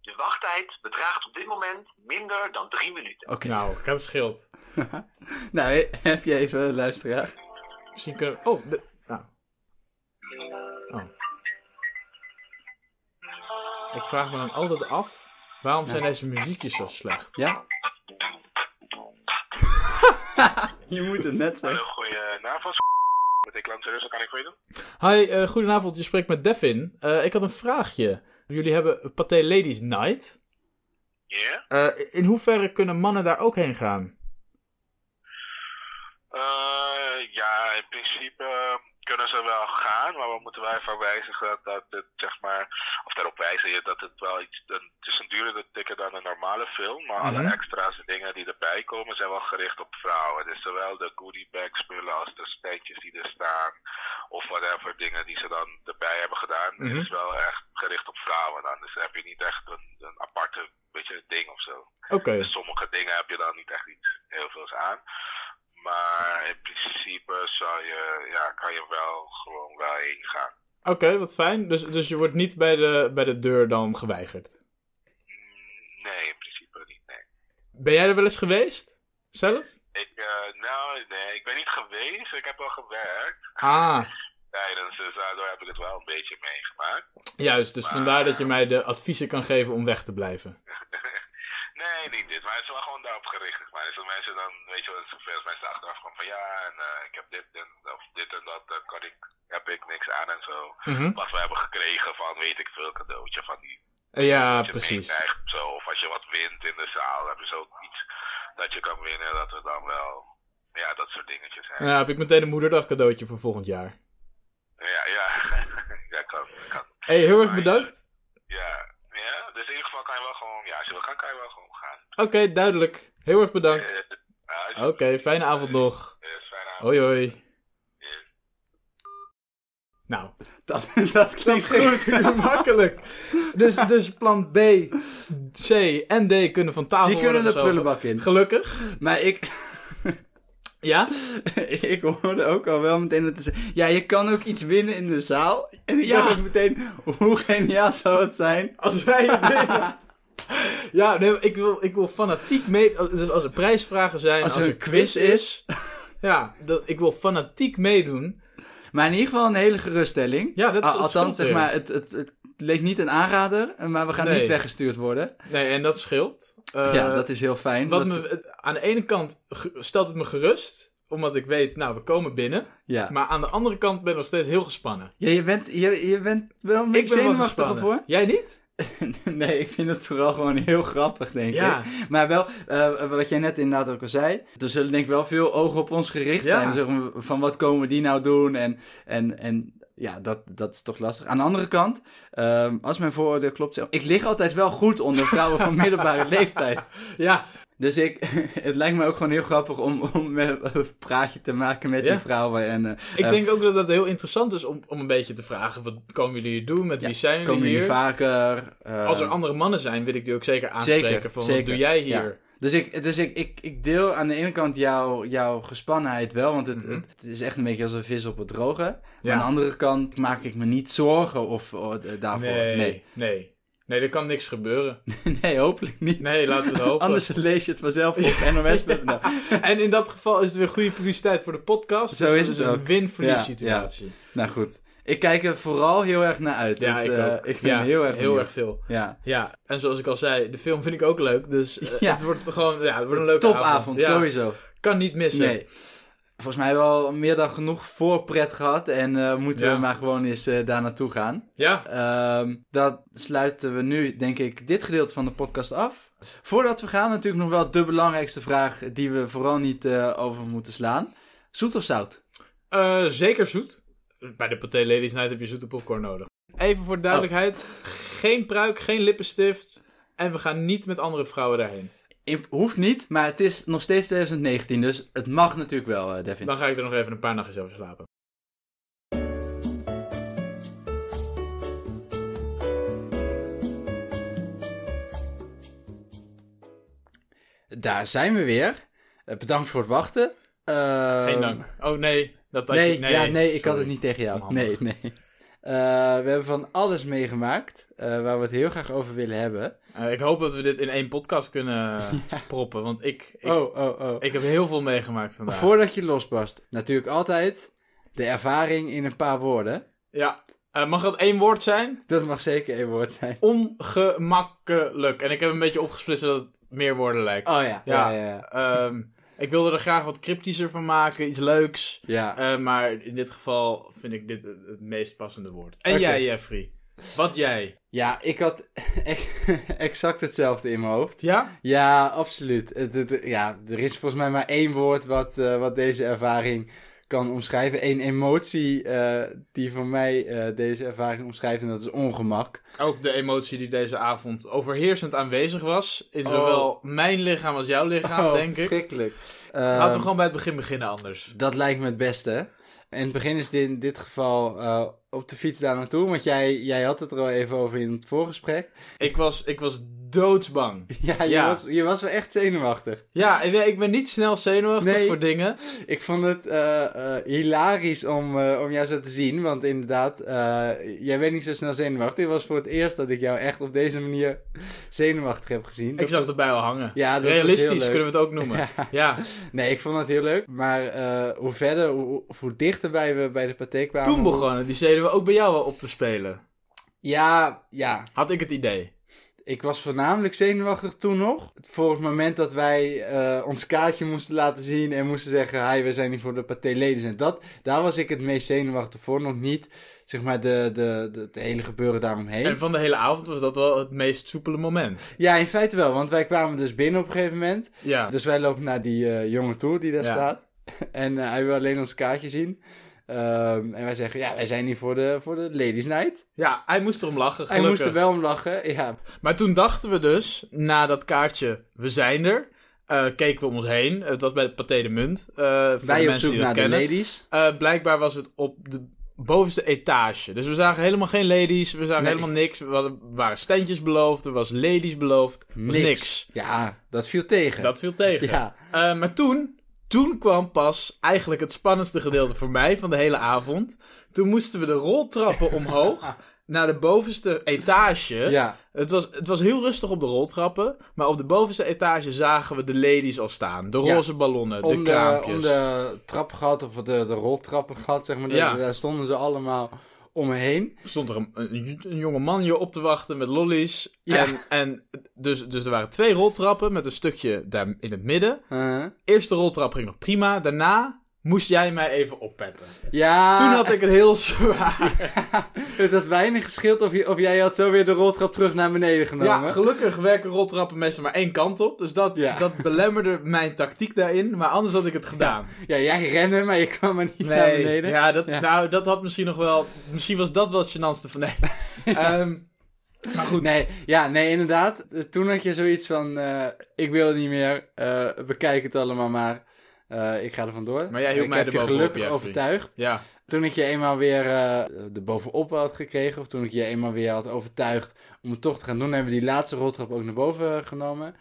[SPEAKER 3] De wachttijd bedraagt op dit moment minder dan drie minuten.
[SPEAKER 2] Oké.
[SPEAKER 1] nou, dat scheelt.
[SPEAKER 2] Nou, he- heb je even een luisteraar?
[SPEAKER 1] Misschien kunnen we... Oh, de- nou. oh. Ik vraag me dan altijd af, waarom zijn deze muziekjes zo slecht?
[SPEAKER 2] Ja? je moet het net zeggen.
[SPEAKER 3] Goedenavond, met de klant Russel, kan ik voor je doen?
[SPEAKER 1] Hi, eh, goedenavond. Je spreekt met Devin. Eh, ik had een vraagje. Jullie hebben Pathé Ladies Night.
[SPEAKER 3] Ja.
[SPEAKER 1] Eh, in hoeverre kunnen mannen daar ook heen gaan?
[SPEAKER 3] Eh, ja, in principe eh, kunnen ze wel gaan, maar we moeten wel even wijzigen dat het, zeg maar, of daarop wijzen je dat het wel iets, een- het is een duurder ticket dan een normale film, maar
[SPEAKER 1] Mhm.
[SPEAKER 3] alle extra's en dingen die erbij komen zijn wel gericht op vrouwen. Dus zowel de goodie bag spullen als de standjes die er staan, of whatever dingen die ze dan erbij hebben gedaan,
[SPEAKER 1] Mhm.
[SPEAKER 3] is wel echt gericht op vrouwen dan. Dus heb je niet echt een, een aparte, beetje ding of zo.
[SPEAKER 1] Oké,
[SPEAKER 3] Dus sommige dingen heb je dan niet echt iets heel veels aan. Maar in principe zou je, ja, kan je wel gewoon wel heen gaan.
[SPEAKER 1] oké, wat fijn. Dus, dus je wordt niet bij de, bij de deur dan geweigerd.
[SPEAKER 3] Mm, Nee, in principe niet, nee.
[SPEAKER 1] Ben jij er wel eens geweest? Zelf?
[SPEAKER 3] Ik, eh, nou, nee, ik ben niet geweest. Ik heb wel gewerkt.
[SPEAKER 1] Ah,
[SPEAKER 3] Tijdens, dus daardoor heb ik het wel een beetje meegemaakt.
[SPEAKER 1] juist. Dus vandaar dat je mij de adviezen kan geven om weg te blijven.
[SPEAKER 3] Nee, niet dit. Maar het is wel gewoon daarop gericht. zeg Maar dus dat mensen dan, weet je wel, zoveel mensen achteraf gewoon van ja, en eh, ik heb dit en, of dit en dat, dan kan ik, heb ik niks aan en zo.
[SPEAKER 1] Mhm.
[SPEAKER 3] Wat we hebben gekregen van, weet ik veel, cadeautje van die
[SPEAKER 1] Eh, Ja,
[SPEAKER 3] Als je
[SPEAKER 1] precies.
[SPEAKER 3] meekrijgt of zo, of als je wat wint in de zaal, heb je zo iets dat je kan winnen, dat er dan wel, ja, dat soort dingetjes zijn.
[SPEAKER 1] Ja, heb ik meteen een moederdag cadeautje voor volgend jaar.
[SPEAKER 3] Ja, ja, ja, kan, kan.
[SPEAKER 1] hey, heel erg bedankt.
[SPEAKER 3] Ja, ja, dus in ieder geval kan je wel gewoon, ja, als je wil gaan, kan je wel gewoon gaan.
[SPEAKER 1] Oké, duidelijk. Heel erg bedankt.
[SPEAKER 3] Eh, ja, is-
[SPEAKER 1] Oké, fijne avond nog.
[SPEAKER 3] is fijn aan.
[SPEAKER 1] Hoi hoi. Nou,
[SPEAKER 2] Dat, dat klinkt goed.
[SPEAKER 1] Heel makkelijk. Dus, dus plan B, C en D kunnen van tafel
[SPEAKER 2] Die
[SPEAKER 1] worden
[SPEAKER 2] kunnen de
[SPEAKER 1] geschoven.
[SPEAKER 2] prullenbak in.
[SPEAKER 1] Gelukkig.
[SPEAKER 2] Maar ik,
[SPEAKER 1] Ja?
[SPEAKER 2] ik hoorde ook al wel meteen dat ze Ja, je kan ook iets winnen in de zaal. En ik
[SPEAKER 1] Ja.
[SPEAKER 2] dacht ook meteen, hoe geniaal zou het zijn?
[SPEAKER 1] Als wij het winnen. Ja, nee, ik wil, ik wil fanatiek mee... Dus als er prijsvragen zijn, als,
[SPEAKER 2] Als er
[SPEAKER 1] er
[SPEAKER 2] een quiz is.
[SPEAKER 1] Ja, dat, ik wil fanatiek meedoen.
[SPEAKER 2] Maar in ieder geval een hele geruststelling.
[SPEAKER 1] Ja, dat is-
[SPEAKER 2] Al-
[SPEAKER 1] dat is
[SPEAKER 2] Ah, Althans,
[SPEAKER 1] goed,
[SPEAKER 2] zeg
[SPEAKER 1] ja.
[SPEAKER 2] maar, het, het, het leek niet een aanrader, eh, maar we gaan
[SPEAKER 1] Nee.
[SPEAKER 2] niet weggestuurd worden.
[SPEAKER 1] Nee, en dat scheelt. Eh,
[SPEAKER 2] ja, dat is heel fijn.
[SPEAKER 1] wat
[SPEAKER 2] dat-
[SPEAKER 1] me, het- aan de ene kant ge- stelt het me gerust, omdat ik weet, nou, we komen binnen.
[SPEAKER 2] ja.
[SPEAKER 1] Maar aan de andere kant ben ik nog steeds heel gespannen.
[SPEAKER 2] Ja, je bent, je, je bent wel een
[SPEAKER 1] Ik
[SPEAKER 2] beetje
[SPEAKER 1] ben wel
[SPEAKER 2] zenuwachtig al
[SPEAKER 1] gespannen.
[SPEAKER 2] voor.
[SPEAKER 1] Jij niet?
[SPEAKER 2] Nee, ik vind het vooral gewoon heel grappig, denk
[SPEAKER 1] Ja.
[SPEAKER 2] ik. Maar wel, eh, wat jij net inderdaad ook al zei, er zullen denk ik wel veel ogen op ons gericht
[SPEAKER 1] Ja.
[SPEAKER 2] zijn. Zeg maar, van wat komen die nou doen en, en, en ja, dat, dat is toch lastig. Aan de andere kant, ehm, als mijn vooroordeel klopt, ik lig altijd wel goed onder vrouwen van middelbare leeftijd.
[SPEAKER 1] Ja,
[SPEAKER 2] Dus ik, het lijkt me ook gewoon heel grappig om, om met- een praatje te maken met
[SPEAKER 1] Ja.
[SPEAKER 2] die vrouwen. En, eh,
[SPEAKER 1] Ik
[SPEAKER 2] eh,
[SPEAKER 1] denk ook dat dat heel interessant is om, om een beetje te vragen: wat komen jullie hier doen? Met
[SPEAKER 2] Ja,
[SPEAKER 1] wie zijn jullie
[SPEAKER 2] komen jullie
[SPEAKER 1] hier?
[SPEAKER 2] vaker? eh,
[SPEAKER 1] Als er andere mannen zijn, wil ik die ook zeker aanspreken:
[SPEAKER 2] Zeker,
[SPEAKER 1] van
[SPEAKER 2] zeker.
[SPEAKER 1] wat doe jij hier?
[SPEAKER 2] Dus, ik, dus ik, ik, ik deel aan de ene kant jouw, jouw gespannenheid wel, want het,
[SPEAKER 1] Mhm.
[SPEAKER 2] het, het is echt een beetje als een vis op het droge. Maar
[SPEAKER 1] Ja.
[SPEAKER 2] aan de andere kant maak ik me niet zorgen of, of, eh, daarvoor.
[SPEAKER 1] nee,
[SPEAKER 2] nee.
[SPEAKER 1] nee, nee. er kan niks gebeuren.
[SPEAKER 2] Nee, hopelijk niet.
[SPEAKER 1] Nee, laten we het hopen.
[SPEAKER 2] Anders lees je het vanzelf op nos.nl.
[SPEAKER 1] En in dat geval is het weer goede publiciteit voor de podcast.
[SPEAKER 2] Zo
[SPEAKER 1] dus
[SPEAKER 2] is
[SPEAKER 1] dat
[SPEAKER 2] het
[SPEAKER 1] is een
[SPEAKER 2] ook.
[SPEAKER 1] win-verlies
[SPEAKER 2] Ja, ja.
[SPEAKER 1] situatie.
[SPEAKER 2] Nou goed, ik kijk er vooral heel erg naar uit.
[SPEAKER 1] Ja,
[SPEAKER 2] want,
[SPEAKER 1] ik
[SPEAKER 2] eh,
[SPEAKER 1] ook.
[SPEAKER 2] Ik ben
[SPEAKER 1] Ja,
[SPEAKER 2] heel erg benieuwd.
[SPEAKER 1] veel.
[SPEAKER 2] Ja.
[SPEAKER 1] Ja, en zoals ik al zei, de film vind ik ook leuk. Dus eh,
[SPEAKER 2] Ja.
[SPEAKER 1] het wordt gewoon ja, het wordt een leuke
[SPEAKER 2] Topavond,
[SPEAKER 1] Ja,
[SPEAKER 2] sowieso.
[SPEAKER 1] Kan niet missen.
[SPEAKER 2] Nee. volgens mij wel meer dan genoeg voorpret gehad. En eh, moeten
[SPEAKER 1] Ja.
[SPEAKER 2] we maar gewoon eens eh, daar naartoe gaan.
[SPEAKER 1] Ja,
[SPEAKER 2] Ehm, dat sluiten we nu, denk ik, dit gedeelte van de podcast af. Voordat we gaan, natuurlijk nog wel de belangrijkste vraag die we vooral niet eh, over moeten slaan. Zoet of zout?
[SPEAKER 1] Eh, zeker zoet. Bij de Pathé Ladies Night heb je zoete popcorn nodig. Even voor de duidelijkheid. Geen pruik, geen lippenstift. En we gaan niet met andere vrouwen daarheen.
[SPEAKER 2] In- hoeft niet, maar het is nog steeds 2019, dus het mag natuurlijk wel, eh, Devin.
[SPEAKER 1] Dan ga ik er nog even een paar nachtjes over slapen.
[SPEAKER 2] Daar zijn we weer. Eh, bedankt voor het wachten. Ehm,
[SPEAKER 1] Geen dank. Oh nee, dat had
[SPEAKER 2] Nee,
[SPEAKER 1] je-
[SPEAKER 2] ja, nee, ik had het
[SPEAKER 1] sorry.
[SPEAKER 2] niet tegen jou. Nee,
[SPEAKER 1] Onhandig.
[SPEAKER 2] nee. Eh, we hebben van alles meegemaakt eh, waar we het heel graag over willen hebben.
[SPEAKER 1] Eh, ik hoop dat we dit in één podcast kunnen proppen. Want ik, ik,
[SPEAKER 2] oh, oh, oh.
[SPEAKER 1] ik heb heel veel meegemaakt vandaag.
[SPEAKER 2] Voordat je losbarst, natuurlijk altijd de ervaring in een paar woorden.
[SPEAKER 1] Ja. Eh, mag dat één woord zijn?
[SPEAKER 2] Dat mag zeker één woord zijn.
[SPEAKER 1] Ongemakkelijk. En ik heb een beetje opgesplitst zodat het meer woorden lijkt.
[SPEAKER 2] Oh ja, ja,
[SPEAKER 1] Ja.
[SPEAKER 2] ja. ja.
[SPEAKER 1] Ehm, ik wilde er graag wat cryptischer van maken, iets leuks.
[SPEAKER 2] Ja.
[SPEAKER 1] Eh, maar in dit geval vind ik dit het, het meest passende woord. En
[SPEAKER 2] Oké.
[SPEAKER 1] jij, Jeffrey? Wat jij?
[SPEAKER 2] Ja, ik had ex- exact hetzelfde in mijn hoofd.
[SPEAKER 1] Ja?
[SPEAKER 2] Ja, absoluut. Het- het- ja, er is volgens mij maar één woord wat, eh, wat deze ervaring kan omschrijven. Eén emotie eh, die voor mij eh, deze ervaring omschrijft en dat is ongemak.
[SPEAKER 1] Ook de emotie die deze avond overheersend aanwezig was. In
[SPEAKER 2] Oh.
[SPEAKER 1] zowel mijn lichaam als jouw lichaam,
[SPEAKER 2] Oh,
[SPEAKER 1] denk ik.
[SPEAKER 2] verschrikkelijk.
[SPEAKER 1] Laten we
[SPEAKER 2] Ehm,
[SPEAKER 1] gewoon bij het begin beginnen anders.
[SPEAKER 2] Dat lijkt me het beste. In het begin is dit in dit geval eh, op de fiets daar naartoe. Want jij, jij had het er al even over in het voorgesprek.
[SPEAKER 1] Ik was, ik was doodsbang.
[SPEAKER 2] Ja, je,
[SPEAKER 1] Ja.
[SPEAKER 2] Was, je was wel echt zenuwachtig.
[SPEAKER 1] Ja, en nee, ik ben niet snel zenuwachtig
[SPEAKER 2] Nee.
[SPEAKER 1] voor dingen.
[SPEAKER 2] Ik vond het eh, eh, hilarisch om, eh, om jou zo te zien. Want inderdaad, eh, jij bent niet zo snel zenuwachtig. Het was voor het eerst dat ik jou echt op deze manier zenuwachtig heb gezien.
[SPEAKER 1] Ik zag erbij al hangen.
[SPEAKER 2] Ja, dat was heel
[SPEAKER 1] Realistisch
[SPEAKER 2] leuk.
[SPEAKER 1] kunnen we het ook noemen. ja.
[SPEAKER 2] Nee, ik vond het heel leuk. Maar eh, hoe verder, hoe, hoe dichterbij we bij de pathé kwamen...
[SPEAKER 1] Toen
[SPEAKER 2] hoe-
[SPEAKER 1] begonnen die zenuwen ook bij jou wel op te spelen.
[SPEAKER 2] Ja, ja.
[SPEAKER 1] Had ik het idee.
[SPEAKER 2] Ik was voornamelijk zenuwachtig toen nog. Voor het moment dat wij eh, ons kaartje moesten laten zien en moesten zeggen: Hi, we zijn hier voor de Pathé Ladies. En dat, daar was ik het meest zenuwachtig voor. Nog niet, zeg maar, de, de, de, het hele gebeuren daaromheen.
[SPEAKER 1] En van de hele avond was dat wel het meest soepele moment.
[SPEAKER 2] Ja, in feite wel, want wij kwamen dus binnen op een gegeven moment.
[SPEAKER 1] Ja.
[SPEAKER 2] Dus wij lopen naar die eh, jongen toe die daar
[SPEAKER 1] Ja.
[SPEAKER 2] staat. En eh, hij wil alleen ons kaartje zien. Ehm, en wij zeggen: Ja, wij zijn hier voor de, voor de Ladies Night.
[SPEAKER 1] Ja, hij moest erom lachen,
[SPEAKER 2] Hij moest
[SPEAKER 1] gelukkig.
[SPEAKER 2] er wel om lachen. Ja,
[SPEAKER 1] Maar toen dachten we dus, na dat kaartje, we zijn er, eh, keken we om ons heen. Het was bij de Pathé de Munt, eh, voor de
[SPEAKER 2] wij op
[SPEAKER 1] mensen
[SPEAKER 2] zoek
[SPEAKER 1] die dat
[SPEAKER 2] naar de
[SPEAKER 1] kennen.
[SPEAKER 2] ladies.
[SPEAKER 1] Eh, blijkbaar was het op de bovenste etage. Dus we zagen helemaal geen ladies, we zagen
[SPEAKER 2] Nee.
[SPEAKER 1] helemaal niks. We hadden- waren standjes beloofd, er was ladies beloofd, er was niks.
[SPEAKER 2] Ja, dat viel tegen.
[SPEAKER 1] Dat viel tegen.
[SPEAKER 2] Ja.
[SPEAKER 1] Eh, maar toen, toen kwam pas eigenlijk het spannendste gedeelte voor mij van de hele avond. Toen moesten we de roltrappen omhoog naar de bovenste etage.
[SPEAKER 2] Ja,
[SPEAKER 1] Het, was, het was heel rustig op de roltrappen, maar op de bovenste etage zagen we de ladies al staan. De
[SPEAKER 2] Ja.
[SPEAKER 1] roze ballonnen, de
[SPEAKER 2] om de,
[SPEAKER 1] kraampjes.
[SPEAKER 2] om de trapgat of de, de roltrappen gehad, zeg maar. daar-
[SPEAKER 1] Ja.
[SPEAKER 2] Daar, stonden ze allemaal om me heen.
[SPEAKER 1] Er stond er een, een, een jonge man je op te wachten met lollies.
[SPEAKER 2] Ja.
[SPEAKER 1] En, en dus, dus er waren twee roltrappen met een stukje daar in het midden.
[SPEAKER 2] Huh?
[SPEAKER 1] Eerste roltrap ging nog prima, daarna moest jij mij even oppeppen.
[SPEAKER 2] ja,
[SPEAKER 1] Toen had ik het heel zwaar.
[SPEAKER 2] het had weinig gescheeld of, je, of jij had zo weer de roltrap terug naar beneden
[SPEAKER 1] Ja,
[SPEAKER 2] genomen.
[SPEAKER 1] gelukkig werken roltrappen meestal maar één kant op. Dus dat,
[SPEAKER 2] Ja.
[SPEAKER 1] dat belemmerde mijn tactiek daarin. Maar anders had ik het gedaan.
[SPEAKER 2] Ja, jij rende, maar je kwam maar niet naar beneden.
[SPEAKER 1] ja, dat,
[SPEAKER 2] Ja.
[SPEAKER 1] Nou, dat had misschien nog wel... Misschien was dat wel het gênantste van... Nee. Ehm, maar goed.
[SPEAKER 2] Nee, ja, nee, inderdaad. Eh, Toen had je zoiets van, eh, ik wil niet meer, eh, bekijk het allemaal maar. Eh, ik ga er vandoor.
[SPEAKER 1] Maar jij hield
[SPEAKER 2] ik
[SPEAKER 1] mij
[SPEAKER 2] heb
[SPEAKER 1] er
[SPEAKER 2] je
[SPEAKER 1] bovenop,
[SPEAKER 2] gelukkig
[SPEAKER 1] Jeffrey.
[SPEAKER 2] overtuigd.
[SPEAKER 1] Ja.
[SPEAKER 2] Toen ik je eenmaal weer eh er bovenop had gekregen, of toen ik je eenmaal weer had overtuigd om het toch te gaan doen, hebben we die laatste roltrap ook naar boven eh, genomen.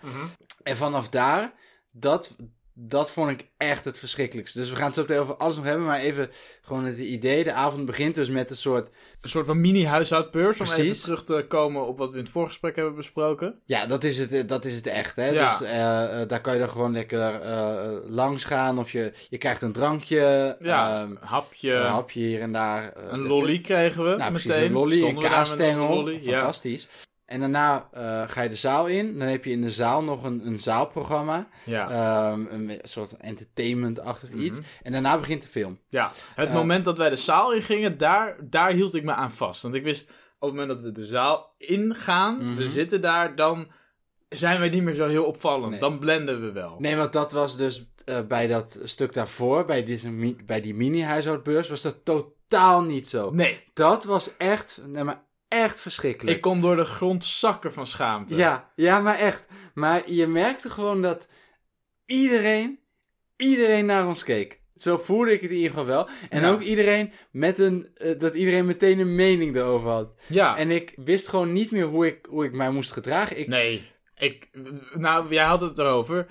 [SPEAKER 2] En vanaf daar, dat, dat vond ik echt het verschrikkelijkste. Dus we gaan het zo meteen over alles nog hebben, maar even gewoon het idee. De avond begint dus met een soort,
[SPEAKER 1] Een soort van mini-huishoudbeurs. Om even
[SPEAKER 2] Precies.
[SPEAKER 1] terug te komen op wat we in het voorgesprek hebben besproken.
[SPEAKER 2] ja, dat is het, eh, dat is het echt. Hè?
[SPEAKER 1] Ja.
[SPEAKER 2] Dus eh, eh, daar kan je dan gewoon lekker eh, langs gaan, of je, je krijgt een drankje,
[SPEAKER 1] Ja,
[SPEAKER 2] ehm,
[SPEAKER 1] een hapje.
[SPEAKER 2] een hapje hier en daar. eh,
[SPEAKER 1] een
[SPEAKER 2] et
[SPEAKER 1] lolly kregen we
[SPEAKER 2] Nou,
[SPEAKER 1] meteen.
[SPEAKER 2] precies, een lolly,
[SPEAKER 1] Stonden
[SPEAKER 2] een
[SPEAKER 1] we daar met onze
[SPEAKER 2] kaasstengel.
[SPEAKER 1] lolly, Ja.
[SPEAKER 2] Fantastisch. En daarna eh, ga je de zaal in. Dan heb je in de zaal nog een, een zaalprogramma.
[SPEAKER 1] Ja.
[SPEAKER 2] Ehm, een soort entertainment-achtig iets.
[SPEAKER 1] Mhm.
[SPEAKER 2] En daarna begint de film.
[SPEAKER 1] Ja, het
[SPEAKER 2] Eh,
[SPEAKER 1] moment dat wij de zaal in gingen, daar, daar hield ik me aan vast. Want ik wist, op het moment dat we de zaal ingaan,
[SPEAKER 2] Mhm.
[SPEAKER 1] we zitten daar, dan zijn wij niet meer zo heel opvallend.
[SPEAKER 2] Nee.
[SPEAKER 1] Dan blenden we wel.
[SPEAKER 2] Nee, want dat was dus eh, bij dat stuk daarvoor, bij, dit, mi- bij die mini-huishoudbeurs, was dat totaal niet zo.
[SPEAKER 1] Nee,
[SPEAKER 2] Dat was echt, nee, maar echt verschrikkelijk.
[SPEAKER 1] ik kon door de grond zakken van schaamte.
[SPEAKER 2] ja, ja, maar echt. Maar je merkte gewoon dat iedereen, iedereen naar ons keek. Zo voelde ik het in ieder geval wel. En
[SPEAKER 1] Ja.
[SPEAKER 2] ook iedereen met een, eh, dat iedereen meteen een mening erover had.
[SPEAKER 1] Ja.
[SPEAKER 2] En ik wist gewoon niet meer hoe ik, hoe ik mij moest gedragen. Ik,
[SPEAKER 1] Nee. Ik, nou, jij had het erover.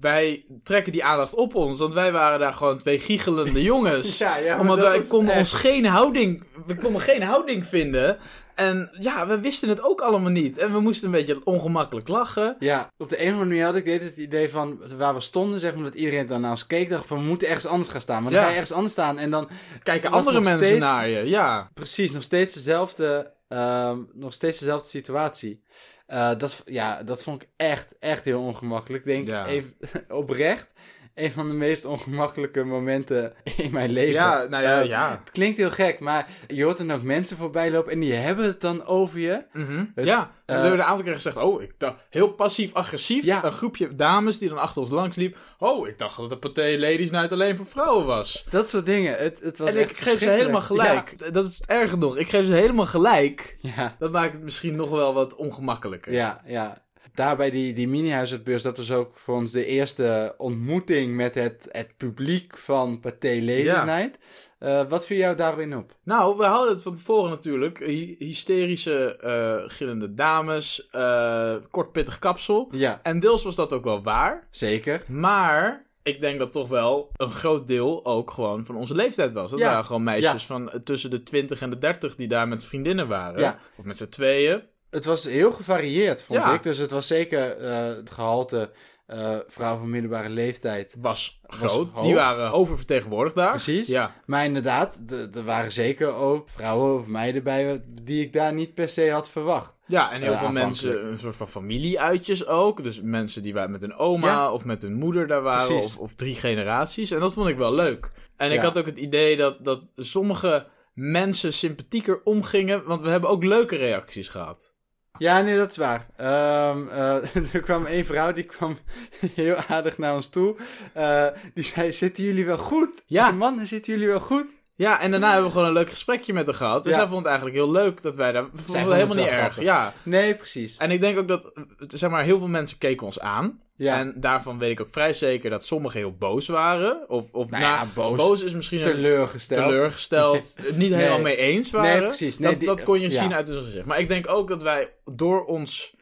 [SPEAKER 1] Wij trekken die aandacht op ons, want wij waren daar gewoon twee giechelende jongens.
[SPEAKER 2] Ja, ja, maar
[SPEAKER 1] Omdat
[SPEAKER 2] dat
[SPEAKER 1] wij
[SPEAKER 2] was
[SPEAKER 1] konden
[SPEAKER 2] echt-
[SPEAKER 1] ons geen houding, we konden geen houding vinden. En ja, we wisten het ook allemaal niet. En we moesten een beetje ongemakkelijk lachen.
[SPEAKER 2] Ja, op de een of andere manier had ik deed het idee van waar we stonden, zeg maar, dat iedereen dan naar ons keek, dacht van we moeten ergens anders gaan staan. Maar dan
[SPEAKER 1] Ja.
[SPEAKER 2] ga je ergens anders staan en dan
[SPEAKER 1] Kijken
[SPEAKER 2] Was
[SPEAKER 1] andere
[SPEAKER 2] nog
[SPEAKER 1] mensen
[SPEAKER 2] steeds-
[SPEAKER 1] naar je, ja.
[SPEAKER 2] precies nog steeds dezelfde, ehm, nog steeds dezelfde situatie. Eh, dat, ja, dat vond ik echt, echt heel ongemakkelijk. Ik denk
[SPEAKER 1] Ja.
[SPEAKER 2] even, oprecht, een van de meest ongemakkelijke momenten in mijn leven.
[SPEAKER 1] Ja, nou ja,
[SPEAKER 2] Eh,
[SPEAKER 1] ja.
[SPEAKER 2] Het klinkt heel gek, maar je hoort dan ook mensen voorbij lopen en die hebben het dan over je.
[SPEAKER 1] Mhm.
[SPEAKER 2] Het-
[SPEAKER 1] ja, we
[SPEAKER 2] eh,
[SPEAKER 1] hebben een aantal keer gezegd, oh, ik dacht, heel passief-agressief.
[SPEAKER 2] Ja.
[SPEAKER 1] Een groepje dames die dan achter ons langs liep. Oh, ik dacht dat de Pathé Ladies Night alleen voor vrouwen was.
[SPEAKER 2] Dat soort dingen. Het, het was
[SPEAKER 1] en ik
[SPEAKER 2] echt
[SPEAKER 1] geef ze helemaal gelijk. Dat is het erge nog. Ik geef ze helemaal gelijk.
[SPEAKER 2] Ja. ja.
[SPEAKER 1] Dat maakt het misschien nog wel wat ongemakkelijker.
[SPEAKER 2] Ja, ja. Daarbij die, die mini-huisartsbeurs, dat was ook voor ons de eerste ontmoeting met het, het publiek van Pathé Ladies
[SPEAKER 1] Ja.
[SPEAKER 2] Night. Eh, wat viel jou daarin op?
[SPEAKER 1] Nou, we hadden het van tevoren natuurlijk. Hy- Hysterische, eh, gillende dames. eh kort pittig kapsel.
[SPEAKER 2] Ja,
[SPEAKER 1] En deels was dat ook wel waar.
[SPEAKER 2] zeker.
[SPEAKER 1] Maar ik denk dat toch wel een groot deel ook gewoon van onze leeftijd was. Dat
[SPEAKER 2] Ja.
[SPEAKER 1] waren gewoon meisjes
[SPEAKER 2] Ja.
[SPEAKER 1] van eh, tussen de 20 en de 30 die daar met vriendinnen waren.
[SPEAKER 2] Ja.
[SPEAKER 1] Of met z'n tweeën.
[SPEAKER 2] Het was heel gevarieerd, vond
[SPEAKER 1] Ja.
[SPEAKER 2] ik. Dus het was zeker eh, het gehalte eh vrouw van middelbare leeftijd.
[SPEAKER 1] Was groot.
[SPEAKER 2] hoog.
[SPEAKER 1] die waren oververtegenwoordigd daar.
[SPEAKER 2] Precies.
[SPEAKER 1] Ja.
[SPEAKER 2] Maar inderdaad, d- er waren zeker ook vrouwen of meiden bij die ik daar niet per se had verwacht.
[SPEAKER 1] Ja, en heel
[SPEAKER 2] Eh,
[SPEAKER 1] veel
[SPEAKER 2] aanvankelijk.
[SPEAKER 1] mensen, een soort van familieuitjes ook. Dus mensen die wa- met hun oma
[SPEAKER 2] Ja.
[SPEAKER 1] of met hun moeder daar waren.
[SPEAKER 2] Precies.
[SPEAKER 1] Of, of drie generaties. En dat vond ik wel leuk. En ik
[SPEAKER 2] Ja.
[SPEAKER 1] had ook het idee dat, dat sommige mensen sympathieker omgingen. Want we hebben ook leuke reacties gehad.
[SPEAKER 2] Ja, nee, dat is waar. Ehm, eh, er kwam één vrouw, die kwam heel aardig naar ons toe. Eh, die zei, zitten jullie wel goed?
[SPEAKER 1] Ja.
[SPEAKER 2] De mannen, zitten jullie wel goed?
[SPEAKER 1] Ja, en daarna hebben we gewoon een leuk gesprekje met haar gehad. En
[SPEAKER 2] Ja.
[SPEAKER 1] zij vond het eigenlijk heel leuk dat wij daar... we vonden
[SPEAKER 2] vond
[SPEAKER 1] het helemaal
[SPEAKER 2] het
[SPEAKER 1] niet
[SPEAKER 2] wel
[SPEAKER 1] erg.
[SPEAKER 2] grappig.
[SPEAKER 1] Ja.
[SPEAKER 2] Nee, precies.
[SPEAKER 1] En ik denk ook dat, eh, zeg maar, heel veel mensen keken ons aan.
[SPEAKER 2] Ja,
[SPEAKER 1] En daarvan weet ik ook vrij zeker dat sommigen heel boos waren. Of, of
[SPEAKER 2] Nou
[SPEAKER 1] na-
[SPEAKER 2] ja, boos.
[SPEAKER 1] is misschien een
[SPEAKER 2] teleurgesteld.
[SPEAKER 1] teleurgesteld, niet helemaal mee
[SPEAKER 2] Nee.
[SPEAKER 1] eens waren.
[SPEAKER 2] Nee, precies. Nee,
[SPEAKER 1] dat,
[SPEAKER 2] die-
[SPEAKER 1] dat kon je
[SPEAKER 2] ja.
[SPEAKER 1] zien uit ons gezicht. Maar ik denk ook dat wij door ons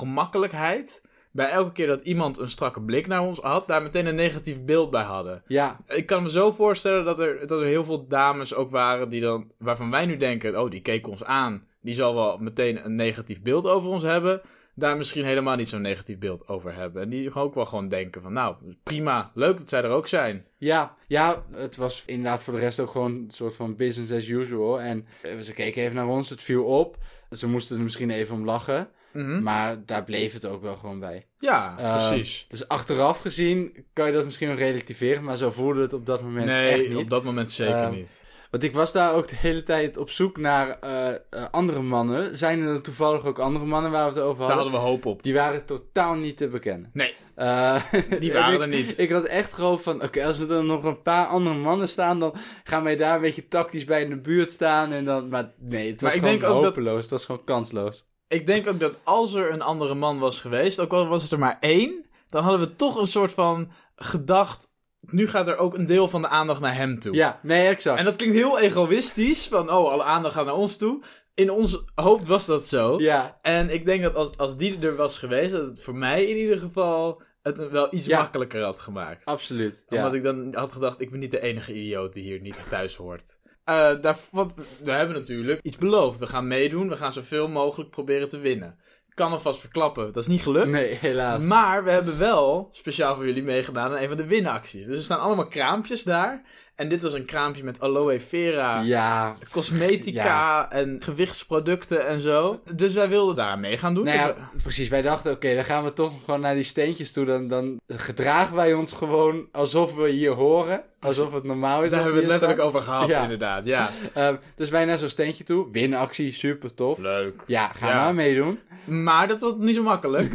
[SPEAKER 1] ongemakkelijkheid... bij elke keer dat iemand een strakke blik naar ons had... daar meteen een negatief beeld bij hadden.
[SPEAKER 2] Ja,
[SPEAKER 1] Ik kan me zo voorstellen dat er, dat er heel veel dames ook waren... Die dan, waarvan wij nu denken, oh, die keek ons aan. Die zal wel meteen een negatief beeld over ons hebben... daar misschien helemaal niet zo'n negatief beeld over hebben. En die ook wel gewoon denken van... nou, prima, leuk dat zij er ook zijn.
[SPEAKER 2] ja, ja, het was inderdaad voor de rest ook gewoon een soort van business as usual. En eh, ze keken even naar ons, het viel op. Ze moesten er misschien even om lachen.
[SPEAKER 1] Hm?
[SPEAKER 2] Maar daar bleef het ook wel gewoon bij.
[SPEAKER 1] Ja,
[SPEAKER 2] Eh,
[SPEAKER 1] precies.
[SPEAKER 2] Dus achteraf gezien kan je dat misschien nog relativeren. Maar zo voelde het op dat moment echt
[SPEAKER 1] Nee,
[SPEAKER 2] niet.
[SPEAKER 1] op dat moment zeker
[SPEAKER 2] Ehm,
[SPEAKER 1] niet.
[SPEAKER 2] Want ik was daar ook de hele tijd op zoek naar eh, eh, andere mannen. Zijn er toevallig ook andere mannen waar we het over
[SPEAKER 1] Daar
[SPEAKER 2] hadden?
[SPEAKER 1] hadden we hoop op.
[SPEAKER 2] Die waren totaal niet te bekennen.
[SPEAKER 1] Nee,
[SPEAKER 2] Eh,
[SPEAKER 1] die
[SPEAKER 2] en
[SPEAKER 1] waren
[SPEAKER 2] ik-
[SPEAKER 1] er niet.
[SPEAKER 2] Ik had echt gehoopt van, oké, als er dan nog een paar andere mannen staan, dan gaan wij daar een beetje tactisch bij in de buurt staan. En dan, maar nee, het was
[SPEAKER 1] Maar ik
[SPEAKER 2] gewoon
[SPEAKER 1] denk ook dat-
[SPEAKER 2] hopeloos, het was gewoon kansloos.
[SPEAKER 1] Ik denk ook dat als er een andere man was geweest, ook al was het er maar één, dan hadden we toch een soort van gedacht, nu gaat er ook een deel van de aandacht naar hem toe.
[SPEAKER 2] Ja, nee, exact.
[SPEAKER 1] En dat klinkt heel egoïstisch, van oh, alle aandacht gaat naar ons toe. In ons hoofd was dat zo.
[SPEAKER 2] Ja,
[SPEAKER 1] En ik denk dat als, als die er was geweest, dat het voor mij in ieder geval het wel iets
[SPEAKER 2] Ja.
[SPEAKER 1] makkelijker had gemaakt.
[SPEAKER 2] absoluut. Ja.
[SPEAKER 1] Omdat ik dan had gedacht, ik ben niet de enige idioot die hier niet thuis hoort. Eh, daar, want we hebben natuurlijk iets beloofd. We gaan meedoen, we gaan zoveel mogelijk proberen te winnen. Ik kan alvast verklappen, dat is niet gelukt.
[SPEAKER 2] Nee, helaas.
[SPEAKER 1] Maar we hebben wel speciaal voor jullie meegedaan aan een van de winacties. Dus er staan allemaal kraampjes daar. En dit was een kraampje met aloe vera,
[SPEAKER 2] Ja.
[SPEAKER 1] cosmetica
[SPEAKER 2] Ja.
[SPEAKER 1] en gewichtsproducten en zo. Dus wij wilden daar aan mee gaan doen.
[SPEAKER 2] Nou
[SPEAKER 1] Dus
[SPEAKER 2] ja, precies. Wij dachten, oké, dan gaan we toch gewoon naar die steentjes toe. Dan, dan gedragen wij ons gewoon alsof we hier horen. Alsof het normaal
[SPEAKER 1] we-
[SPEAKER 2] is.
[SPEAKER 1] daar
[SPEAKER 2] dat
[SPEAKER 1] hebben we het
[SPEAKER 2] hier
[SPEAKER 1] letterlijk
[SPEAKER 2] staan.
[SPEAKER 1] over gehad,
[SPEAKER 2] Ja.
[SPEAKER 1] inderdaad. Ja,
[SPEAKER 2] Ehm, dus wij naar zo'n steentje toe. Winactie, super tof.
[SPEAKER 1] leuk.
[SPEAKER 2] Ja, ga
[SPEAKER 1] Ja.
[SPEAKER 2] maar meedoen.
[SPEAKER 1] Maar dat was niet zo makkelijk.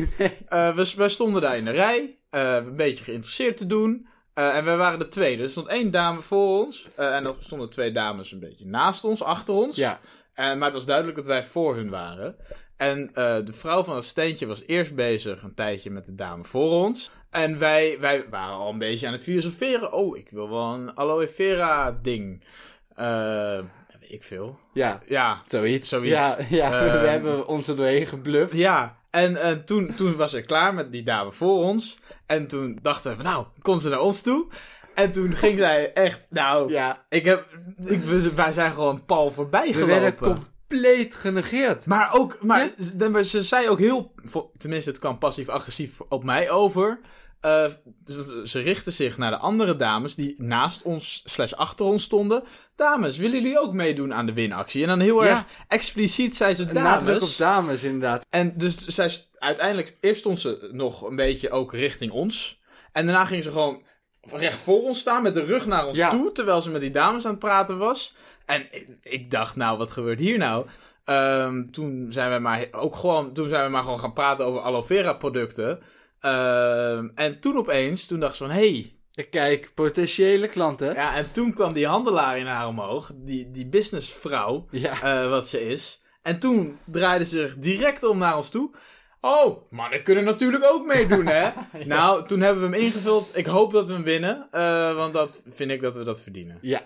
[SPEAKER 1] Eh, we, wij stonden daar in de rij, eh, een beetje geïnteresseerd te doen. Eh, en wij waren de tweede. Er stond één dame voor ons. eh, en er stonden twee dames een beetje naast ons, achter ons.
[SPEAKER 2] Ja.
[SPEAKER 1] En, Eh, maar het was duidelijk dat wij voor hun waren. En eh, de vrouw van het steentje was eerst bezig een tijdje met de dame voor ons. En wij, wij waren al een beetje aan het filosoferen. Oh, ik wil wel een aloe vera ding. Eh, weet ik veel.
[SPEAKER 2] Ja,
[SPEAKER 1] Ja,
[SPEAKER 2] zoiets.
[SPEAKER 1] Zoiets.
[SPEAKER 2] Ja, ja
[SPEAKER 1] Ehm.
[SPEAKER 2] we hebben ons er doorheen gebluft.
[SPEAKER 1] Ja, en, eh, toen, toen was ze klaar met die dame voor ons. En toen dachten we, van, nou, komt ze naar ons toe. En toen ging zij echt, nou,
[SPEAKER 2] Ja,
[SPEAKER 1] ik heb, ik, we- wij zijn gewoon pal voorbij
[SPEAKER 2] we werden
[SPEAKER 1] gelopen.
[SPEAKER 2] compleet genegeerd.
[SPEAKER 1] Maar ook, maar, ze- maar ze zei ook heel, vo- tenminste het kwam passief-agressief op mij over. Eh, ze- ze richtte zich naar de andere dames die naast ons slash achter ons stonden. Dames, willen jullie ook meedoen aan de winactie? En dan heel
[SPEAKER 2] Ja.
[SPEAKER 1] erg expliciet zei ze dames.
[SPEAKER 2] Nadruk op dames, inderdaad.
[SPEAKER 1] En dus zij st- uiteindelijk, eerst stond ze nog een beetje ook richting ons. En daarna ging ze gewoon recht voor ons staan met de rug naar ons
[SPEAKER 2] Ja.
[SPEAKER 1] toe. Terwijl ze met die dames aan het praten was. En ik, ik dacht, nou, wat gebeurt hier nou? Ehm, toen zijn we maar he- ook gewoon, toen zijn we maar gewoon gaan praten over aloe vera producten. Ehm, en toen opeens, toen dacht ze van, hey.
[SPEAKER 2] Kijk, potentiële klanten.
[SPEAKER 1] Ja, en toen kwam die handelaar in haar omhoog. Die, die businessvrouw.
[SPEAKER 2] Ja.
[SPEAKER 1] Eh, wat ze is. En toen draaide ze zich direct om naar ons toe. Oh, mannen kunnen natuurlijk ook meedoen, hè? Nou, toen hebben we hem ingevuld. Ik hoop dat we hem winnen, eh, want dat vind ik dat we dat verdienen.
[SPEAKER 2] Ja.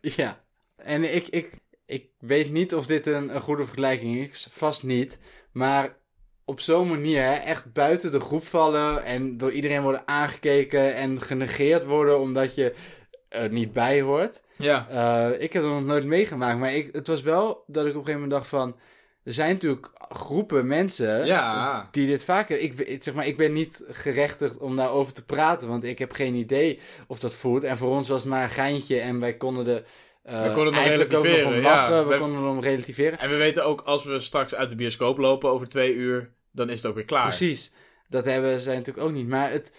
[SPEAKER 2] ja. En ik, ik, ik weet niet of dit een, een goede vergelijking is. Vast niet. Maar op zo'n manier hè, echt buiten de groep vallen. En door iedereen worden aangekeken. En genegeerd worden omdat je er niet bij hoort.
[SPEAKER 1] Ja.
[SPEAKER 2] Eh, ik heb dat nog nooit meegemaakt. Maar ik, het was wel dat ik op een gegeven moment dacht van... Er zijn natuurlijk groepen mensen
[SPEAKER 1] Ja.
[SPEAKER 2] die dit vaker... Ik, we- zeg maar, ik ben niet gerechtigd om daarover te praten. Want ik heb geen idee of dat voelt. En voor ons was het maar een geintje. En wij konden er eh,
[SPEAKER 1] We konden er
[SPEAKER 2] eigenlijk ook nog om
[SPEAKER 1] relativeren, ja.
[SPEAKER 2] lachen. we,
[SPEAKER 1] We-
[SPEAKER 2] konden erom relativeren.
[SPEAKER 1] En we weten ook, als we straks uit de bioscoop lopen over twee uur, dan is het ook weer klaar.
[SPEAKER 2] Precies. Dat hebben zij natuurlijk ook niet. Maar het,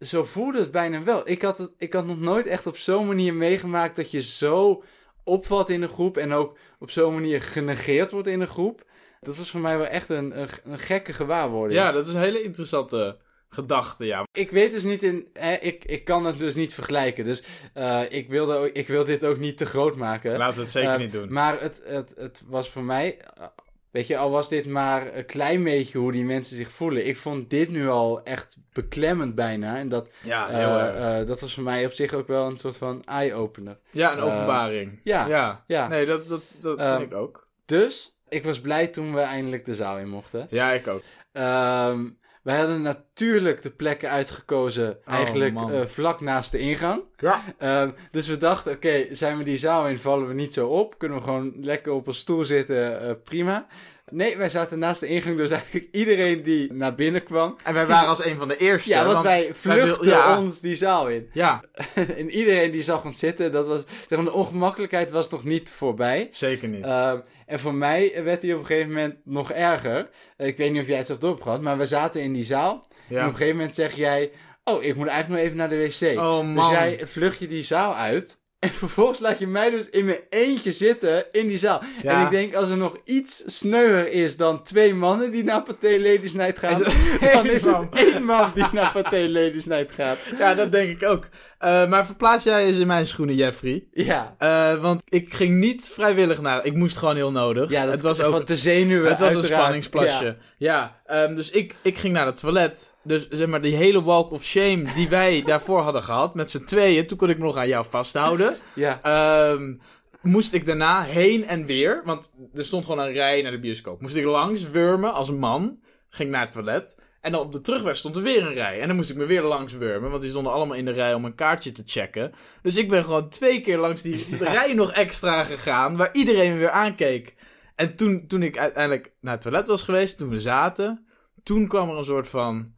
[SPEAKER 2] zo voelde het bijna wel. Ik had, het, ik had nog nooit echt op zo'n manier meegemaakt dat je zo opvalt in de groep. En ook op zo'n manier genegeerd wordt in de groep. Dat was voor mij wel echt een, een, een gekke gewaarwording.
[SPEAKER 1] Ja, dat is een hele interessante gedachte, ja.
[SPEAKER 2] Ik weet dus niet in. Hè, ik, ik kan het dus niet vergelijken. Dus eh, ik, wilde, ook- ik wil dit ook niet te groot maken.
[SPEAKER 1] Laten we het zeker
[SPEAKER 2] Eh,
[SPEAKER 1] niet doen.
[SPEAKER 2] Maar het, het, het was voor mij. eh, Weet je, al was dit maar een klein beetje hoe die mensen zich voelen. Ik vond dit nu al echt beklemmend bijna. En dat,
[SPEAKER 1] Ja,
[SPEAKER 2] eh,
[SPEAKER 1] heel erg.
[SPEAKER 2] eh, dat was voor mij op zich ook wel een soort van eye-opener.
[SPEAKER 1] Ja, een
[SPEAKER 2] eh,
[SPEAKER 1] openbaring.
[SPEAKER 2] ja,
[SPEAKER 1] ja.
[SPEAKER 2] ja.
[SPEAKER 1] Nee, dat, dat, dat
[SPEAKER 2] Eh,
[SPEAKER 1] vind ik ook.
[SPEAKER 2] Dus ik was blij toen we eindelijk de zaal in mochten.
[SPEAKER 1] Ja, ik ook.
[SPEAKER 2] Ehm, wij hadden natuurlijk de plekken uitgekozen, eigenlijk
[SPEAKER 1] Oh, man.
[SPEAKER 2] eh, vlak naast de ingang.
[SPEAKER 1] Ja.
[SPEAKER 2] Ehm, dus we dachten, oké, zijn we die zaal in, vallen we niet zo op. Kunnen we gewoon lekker op een stoel zitten, eh, prima. Nee, wij zaten naast de ingang, dus eigenlijk iedereen die naar binnen kwam.
[SPEAKER 1] En wij waren als een van de eerste.
[SPEAKER 2] Ja, want
[SPEAKER 1] want
[SPEAKER 2] wij vluchten
[SPEAKER 1] wil- ja.
[SPEAKER 2] ons die zaal in.
[SPEAKER 1] Ja,
[SPEAKER 2] en iedereen die zag ons zitten, dat was, zeg maar, de ongemakkelijkheid was nog niet voorbij.
[SPEAKER 1] zeker niet.
[SPEAKER 2] Ehm, en voor mij werd die op een gegeven moment nog erger. Eh, Ik weet niet of jij het zelf door hebt gehad, maar we zaten in die zaal. En op
[SPEAKER 1] ja.
[SPEAKER 2] een gegeven moment zeg jij, oh, ik moet eigenlijk nog even naar de wc.
[SPEAKER 1] Oh man.
[SPEAKER 2] Dus jij vlucht je die zaal uit. En vervolgens laat je mij dus in mijn eentje zitten in die zaal.
[SPEAKER 1] Ja.
[SPEAKER 2] En ik denk, als er nog iets sneuwer is dan twee mannen die naar Pathé Ladies Night gaan...
[SPEAKER 1] Is het
[SPEAKER 2] dan
[SPEAKER 1] één
[SPEAKER 2] is het
[SPEAKER 1] man?
[SPEAKER 2] één man die naar Pathé Ladies Night gaat.
[SPEAKER 1] Ja, dat denk ik ook. Eh, maar verplaats jij eens in mijn schoenen, Jeffrey.
[SPEAKER 2] Ja.
[SPEAKER 1] Eh, want ik ging niet vrijwillig naar. Ik moest gewoon heel nodig.
[SPEAKER 2] Ja, dat
[SPEAKER 1] het was ook.
[SPEAKER 2] van te zenuwen,
[SPEAKER 1] Het was een
[SPEAKER 2] uiteraard.
[SPEAKER 1] spanningsplasje. Ja, ehm, dus ik, ik ging naar het toilet. Dus zeg maar, die hele walk of shame die wij daarvoor hadden gehad, met z'n tweeën, toen kon ik me nog aan jou vasthouden.
[SPEAKER 2] Ja, ja.
[SPEAKER 1] Ehm, moest ik daarna heen en weer, want er stond gewoon een rij naar de bioscoop. Moest ik langs wurmen als een man, ging naar het toilet. En dan op de terugweg stond er weer een rij. En dan moest ik me weer langs wurmen, want die stonden allemaal in de rij om een kaartje te checken. Dus ik ben gewoon twee keer langs die rij nog extra gegaan, waar iedereen me weer aankeek. En toen, toen ik uiteindelijk naar het toilet was geweest, toen we zaten, toen kwam er een soort van.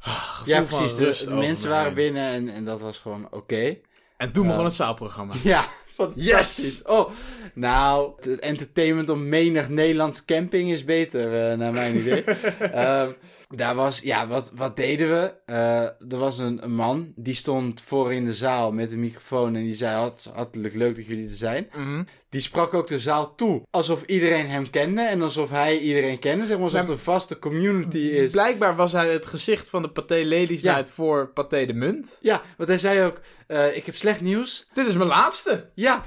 [SPEAKER 1] ah, gevoel
[SPEAKER 2] Ja,
[SPEAKER 1] van
[SPEAKER 2] precies.
[SPEAKER 1] rust
[SPEAKER 2] Dus de
[SPEAKER 1] over
[SPEAKER 2] mensen
[SPEAKER 1] me
[SPEAKER 2] waren
[SPEAKER 1] heen.
[SPEAKER 2] binnen en, en dat was gewoon oké.
[SPEAKER 1] En toen
[SPEAKER 2] Ja.
[SPEAKER 1] begon het zaalprogramma.
[SPEAKER 2] Ja, fantastisch.
[SPEAKER 1] Yes!
[SPEAKER 2] Oh, nou, het entertainment op menig Nederlands camping is beter, eh, naar mijn idee. Ehm, daar was, ja, wat, wat deden we? Eh, er was een, een man, die stond voor in de zaal met een microfoon en die zei, "Hart- hartelijk leuk dat jullie er zijn.
[SPEAKER 1] Mhm.
[SPEAKER 2] Die sprak ook de zaal toe, alsof iedereen hem kende en alsof hij iedereen kende, zeg maar, alsof
[SPEAKER 1] Maar-
[SPEAKER 2] het een vaste community is.
[SPEAKER 1] Dus Blijkbaar was hij het gezicht van de Pathé Ladies
[SPEAKER 2] Ja.
[SPEAKER 1] Night voor Pathé de Munt.
[SPEAKER 2] Ja, want hij zei ook, eh, ik heb slecht nieuws.
[SPEAKER 1] Dit is mijn laatste.
[SPEAKER 2] Ja,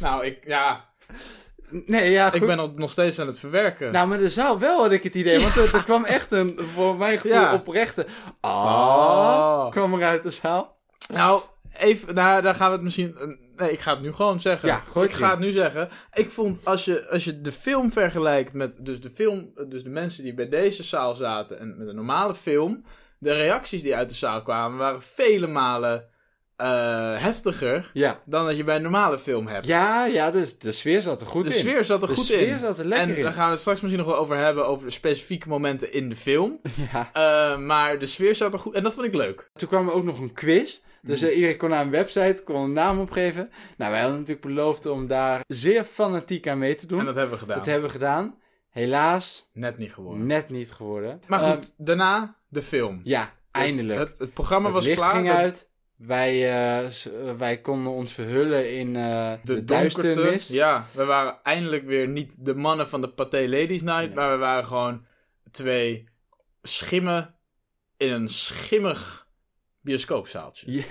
[SPEAKER 1] Nou, ik, ja,
[SPEAKER 2] nee, ja,
[SPEAKER 1] ik
[SPEAKER 2] goed.
[SPEAKER 1] ben al- nog steeds aan het verwerken.
[SPEAKER 2] Nou, maar de zaal wel had ik het idee. Want er, er kwam echt een, voor mijn gevoel,
[SPEAKER 1] Ja.
[SPEAKER 2] oprechte...
[SPEAKER 1] Ah.
[SPEAKER 2] Ah, kwam er uit de zaal.
[SPEAKER 1] Nou, even, nou, daar gaan we het misschien. eh, Nee, ik ga het nu gewoon zeggen.
[SPEAKER 2] Ja, gooi
[SPEAKER 1] ik
[SPEAKER 2] het
[SPEAKER 1] ga
[SPEAKER 2] in.
[SPEAKER 1] het nu zeggen. Ik vond als je, als je de film vergelijkt met dus de film, dus de mensen die bij deze zaal zaten en met een normale film, de reacties die uit de zaal kwamen waren vele malen eh, heftiger
[SPEAKER 2] Ja,
[SPEAKER 1] dan dat je bij een normale film hebt.
[SPEAKER 2] ja, ja dus de sfeer zat er goed
[SPEAKER 1] de
[SPEAKER 2] in.
[SPEAKER 1] sfeer zat er
[SPEAKER 2] De
[SPEAKER 1] goed
[SPEAKER 2] sfeer
[SPEAKER 1] in.
[SPEAKER 2] zat er
[SPEAKER 1] en
[SPEAKER 2] lekker
[SPEAKER 1] daar
[SPEAKER 2] in.
[SPEAKER 1] gaan we het straks misschien nog wel over hebben, over de specifieke momenten in de film.
[SPEAKER 2] Ja.
[SPEAKER 1] Eh, maar de sfeer zat er goed en dat vond ik leuk.
[SPEAKER 2] Toen kwam er ook nog een quiz.
[SPEAKER 1] Mm.
[SPEAKER 2] Dus eh, iedereen kon naar een website, kon een naam opgeven. Nou, wij hadden natuurlijk beloofd om daar zeer fanatiek aan mee te doen.
[SPEAKER 1] En dat hebben we gedaan.
[SPEAKER 2] Dat hebben we gedaan. Helaas,
[SPEAKER 1] Net niet geworden.
[SPEAKER 2] net niet geworden.
[SPEAKER 1] Maar
[SPEAKER 2] Ehm,
[SPEAKER 1] goed, daarna de film.
[SPEAKER 2] ja, eindelijk.
[SPEAKER 1] Het, het programma
[SPEAKER 2] Het
[SPEAKER 1] Oh, was
[SPEAKER 2] licht
[SPEAKER 1] klaar.
[SPEAKER 2] ging
[SPEAKER 1] dat-
[SPEAKER 2] uit. Wij, eh, s- eh, wij konden ons verhullen in eh, de,
[SPEAKER 1] De, donkerte.
[SPEAKER 2] duisternis.
[SPEAKER 1] Ja, we waren eindelijk weer niet de mannen van de Pathé Ladies Night.
[SPEAKER 2] Nee.
[SPEAKER 1] Maar we waren gewoon twee schimmen in een schimmig bioscoopzaaltje.
[SPEAKER 2] Ja,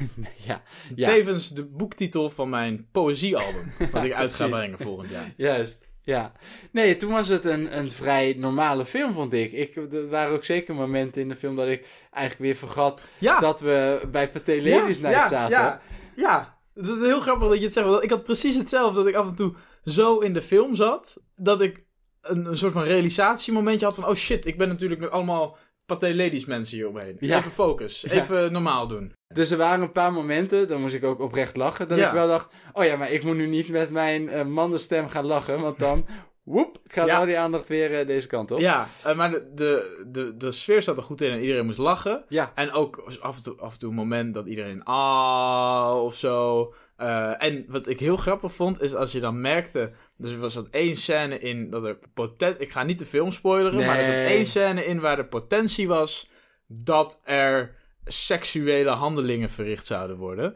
[SPEAKER 2] ja, ja.
[SPEAKER 1] Tevens de boektitel van mijn poëziealbum. wat ik uit ga
[SPEAKER 2] precies.
[SPEAKER 1] brengen volgend jaar.
[SPEAKER 2] juist. Ja. Nee, toen was het een, een vrij normale film, vond ik. ik. Er waren ook zeker momenten in de film dat ik eigenlijk weer vergat
[SPEAKER 1] Ja,
[SPEAKER 2] dat we bij Pathé Ladies Night
[SPEAKER 1] ja,
[SPEAKER 2] zaten.
[SPEAKER 1] ja, ja. dat is heel grappig dat je het zegt. Want ik had precies hetzelfde dat ik af en toe zo in de film zat. Dat ik een, een soort van realisatiemomentje had van... Oh shit, ik ben natuurlijk met allemaal Pathé Ladies mensen hier omheen.
[SPEAKER 2] Ja.
[SPEAKER 1] Even focus.
[SPEAKER 2] Ja.
[SPEAKER 1] Even normaal doen.
[SPEAKER 2] Dus er waren een paar momenten, dan moest ik ook oprecht lachen, dat
[SPEAKER 1] Ja.
[SPEAKER 2] ik wel dacht, oh ja, maar ik moet nu niet met mijn eh, mannenstem gaan lachen, want dan, woep, gaat
[SPEAKER 1] Ja.
[SPEAKER 2] al die aandacht weer eh, deze kant op.
[SPEAKER 1] Ja, eh, maar de, de, de, de sfeer zat er goed in en iedereen moest lachen.
[SPEAKER 2] Ja.
[SPEAKER 1] En ook af en toe, af en toe een moment dat iedereen ah of zo. Eh, en wat ik heel grappig vond, is als je dan merkte. Dus er was dat één scène in dat er potentie. Ik ga niet de film spoileren, maar er zat
[SPEAKER 2] Nee.
[SPEAKER 1] één scène in waar de potentie was dat er seksuele handelingen verricht zouden worden.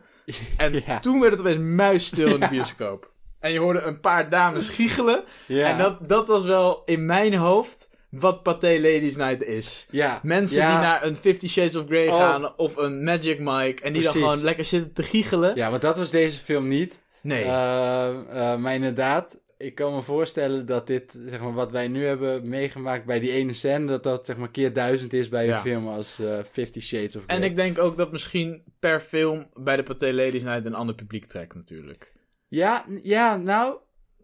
[SPEAKER 1] En
[SPEAKER 2] Ja.
[SPEAKER 1] toen werd het opeens muisstil in de bioscoop. En je hoorde een paar dames giechelen.
[SPEAKER 2] Ja.
[SPEAKER 1] En dat, dat was wel in mijn hoofd wat Pathé Ladies Night is.
[SPEAKER 2] ja.
[SPEAKER 1] Mensen
[SPEAKER 2] Ja.
[SPEAKER 1] die naar een Fifty Shades of Grey
[SPEAKER 2] Oh.
[SPEAKER 1] gaan of een Magic Mike en die dan
[SPEAKER 2] Precies.
[SPEAKER 1] gewoon lekker zitten te giechelen.
[SPEAKER 2] Ja, want dat was deze film niet.
[SPEAKER 1] Nee.
[SPEAKER 2] Eh, eh, maar inderdaad, ik kan me voorstellen dat dit, zeg maar, wat wij nu hebben meegemaakt bij die ene scène, dat dat zeg maar keer duizend is bij
[SPEAKER 1] Ja.
[SPEAKER 2] een film als eh Fifty Shades of Grey.
[SPEAKER 1] en ik denk ook dat misschien per film bij de Pathé Ladies Night een ander publiek trekt natuurlijk.
[SPEAKER 2] ja, n- ja, nou,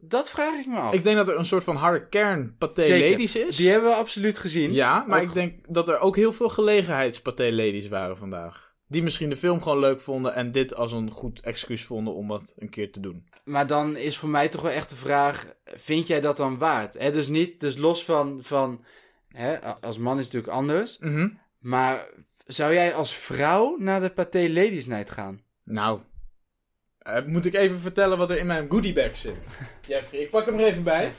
[SPEAKER 2] dat vraag ik me af.
[SPEAKER 1] Ik denk dat er een soort van harde kern Pathé
[SPEAKER 2] Zeker.
[SPEAKER 1] Ladies is.
[SPEAKER 2] Die hebben we absoluut gezien.
[SPEAKER 1] Ja, maar
[SPEAKER 2] Ook-
[SPEAKER 1] ik denk dat er ook heel veel gelegenheidspathé ladies waren vandaag. Die misschien de film gewoon leuk vonden en dit als een goed excuus vonden om wat een keer te doen.
[SPEAKER 2] Maar dan is voor mij toch wel echt de vraag, vind jij dat dan waard? Hè, dus niet, dus los van, van hè, a- als man is het natuurlijk anders,
[SPEAKER 1] Mhm.
[SPEAKER 2] maar zou jij als vrouw naar de Pathé Ladies Night gaan?
[SPEAKER 1] Nou, eh, moet ik even vertellen wat er in mijn goodiebag zit? Jeffrey, ik pak hem er even bij.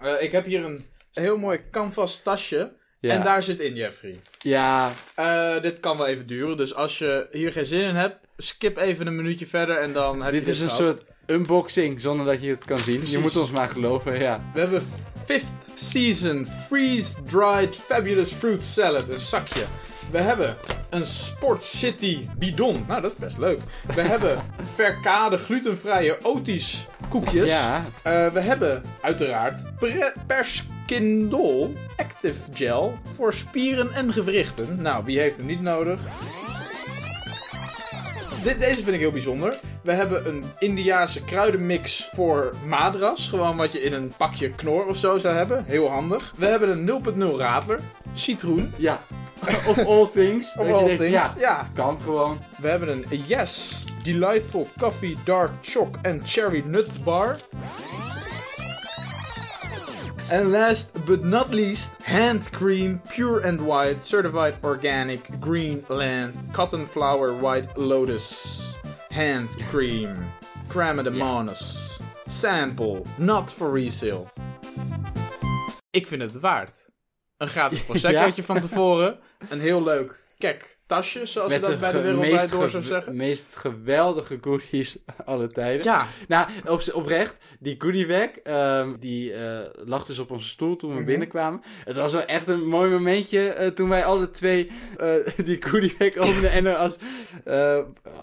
[SPEAKER 1] Eh, ik heb hier een heel mooi canvas tasje.
[SPEAKER 2] Ja.
[SPEAKER 1] En daar zit in, Jeffrey.
[SPEAKER 2] Ja,
[SPEAKER 1] Eh, dit kan wel even duren, dus als je hier geen zin in hebt, skip even een minuutje verder en dan heb je
[SPEAKER 2] Dit is een
[SPEAKER 1] gehad.
[SPEAKER 2] soort unboxing zonder dat je het kan zien.
[SPEAKER 1] Precies.
[SPEAKER 2] Je moet ons maar geloven, ja.
[SPEAKER 1] We hebben fifth season freeze-dried fabulous fruit salad, een zakje. We hebben een Sport City bidon. Nou, dat is best leuk. We hebben verkade glutenvrije Otis koekjes.
[SPEAKER 2] Ja,
[SPEAKER 1] Eh, we hebben uiteraard pre- Perskindol Active Gel voor spieren en gewrichten. Nou, wie heeft hem niet nodig? Dit, deze vind ik heel bijzonder. We hebben een Indiaanse kruidenmix voor madras. Gewoon wat je in een pakje knor of zo zou hebben. Heel handig. We hebben een 0.0 radler. Citroen.
[SPEAKER 2] ja. of all things.
[SPEAKER 1] Of
[SPEAKER 2] Dat je
[SPEAKER 1] all
[SPEAKER 2] denkt,
[SPEAKER 1] things.
[SPEAKER 2] Ja,
[SPEAKER 1] ja.
[SPEAKER 2] kan gewoon.
[SPEAKER 1] We hebben een Yes Delightful Coffee Dark Choc and Cherry Nut Bar. En last but not least, hand cream, pure and white, certified organic, Greenland, cotton flower, white lotus. Hand cream. Cramademonas. Sample. Not for resale. Ik vind het waard. Een gratis proseccootje van tevoren. Een heel leuk kek tasje, zoals
[SPEAKER 2] Met
[SPEAKER 1] je dat bij de
[SPEAKER 2] ge-
[SPEAKER 1] wereldwijd door
[SPEAKER 2] ge-
[SPEAKER 1] zou zeggen.
[SPEAKER 2] meest geweldige goodies alle tijden.
[SPEAKER 1] Ja,
[SPEAKER 2] Nou, op, oprecht, die goodiebag, ehm die eh, lag dus op onze stoel toen we
[SPEAKER 1] Mhm.
[SPEAKER 2] binnenkwamen. Het was wel echt een mooi momentje eh, toen wij alle twee eh, die goodiebag openden. en er als, eh,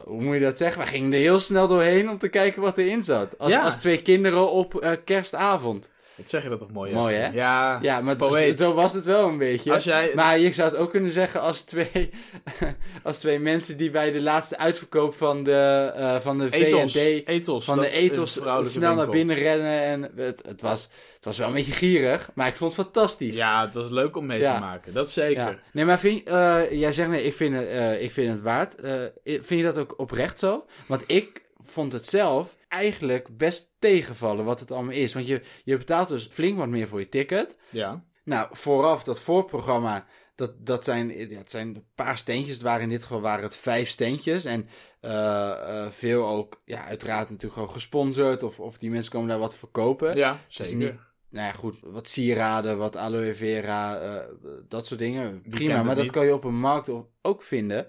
[SPEAKER 2] hoe moet je dat zeggen, we gingen er heel snel doorheen om te kijken wat erin zat. Als,
[SPEAKER 1] Ja.
[SPEAKER 2] als twee kinderen op eh, kerstavond.
[SPEAKER 1] wat zeg je dat toch mooi?
[SPEAKER 2] Mooi, hè?
[SPEAKER 1] Ja.
[SPEAKER 2] Ja, maar het-
[SPEAKER 1] Poëet.
[SPEAKER 2] zo was het wel een beetje.
[SPEAKER 1] Als jij...
[SPEAKER 2] Maar je zou het ook kunnen zeggen als twee, als twee mensen die bij de laatste uitverkoop van de, eh, van de
[SPEAKER 1] Ethos.
[SPEAKER 2] V&D...
[SPEAKER 1] Ethos.
[SPEAKER 2] Van
[SPEAKER 1] dat-
[SPEAKER 2] de ethos
[SPEAKER 1] een
[SPEAKER 2] snel
[SPEAKER 1] vrouwelijke
[SPEAKER 2] naar
[SPEAKER 1] winkel.
[SPEAKER 2] binnen rennen. En het, het, was, het was wel een beetje gierig, maar ik vond het fantastisch.
[SPEAKER 1] Ja, het was leuk om mee
[SPEAKER 2] Ja.
[SPEAKER 1] te maken. Dat
[SPEAKER 2] Ja.
[SPEAKER 1] zeker.
[SPEAKER 2] Nee, maar vind, je- eh, jij zegt nee, ik vind het, eh, ik vind het waard. Eh, i- vind je dat ook oprecht zo? Want ik vond het zelf eigenlijk best tegenvallen wat het allemaal is. Want je, je betaalt dus flink wat meer voor je ticket.
[SPEAKER 1] Ja.
[SPEAKER 2] Nou, vooraf dat voorprogramma, dat, dat, zijn, ja, het zijn een paar steentjes. Het waren in dit geval waren het vijf steentjes. En eh, eh, veel ook, ja, uiteraard natuurlijk gewoon gesponsord. Of, of die mensen komen daar wat voor kopen.
[SPEAKER 1] Ja,
[SPEAKER 2] is
[SPEAKER 1] zeker.
[SPEAKER 2] niet- Nou ja, goed, wat sieraden, wat aloe vera, eh, dat soort dingen.
[SPEAKER 1] kent
[SPEAKER 2] Prima,
[SPEAKER 1] het
[SPEAKER 2] maar dat
[SPEAKER 1] niet?
[SPEAKER 2] kan je op een markt o- ook vinden.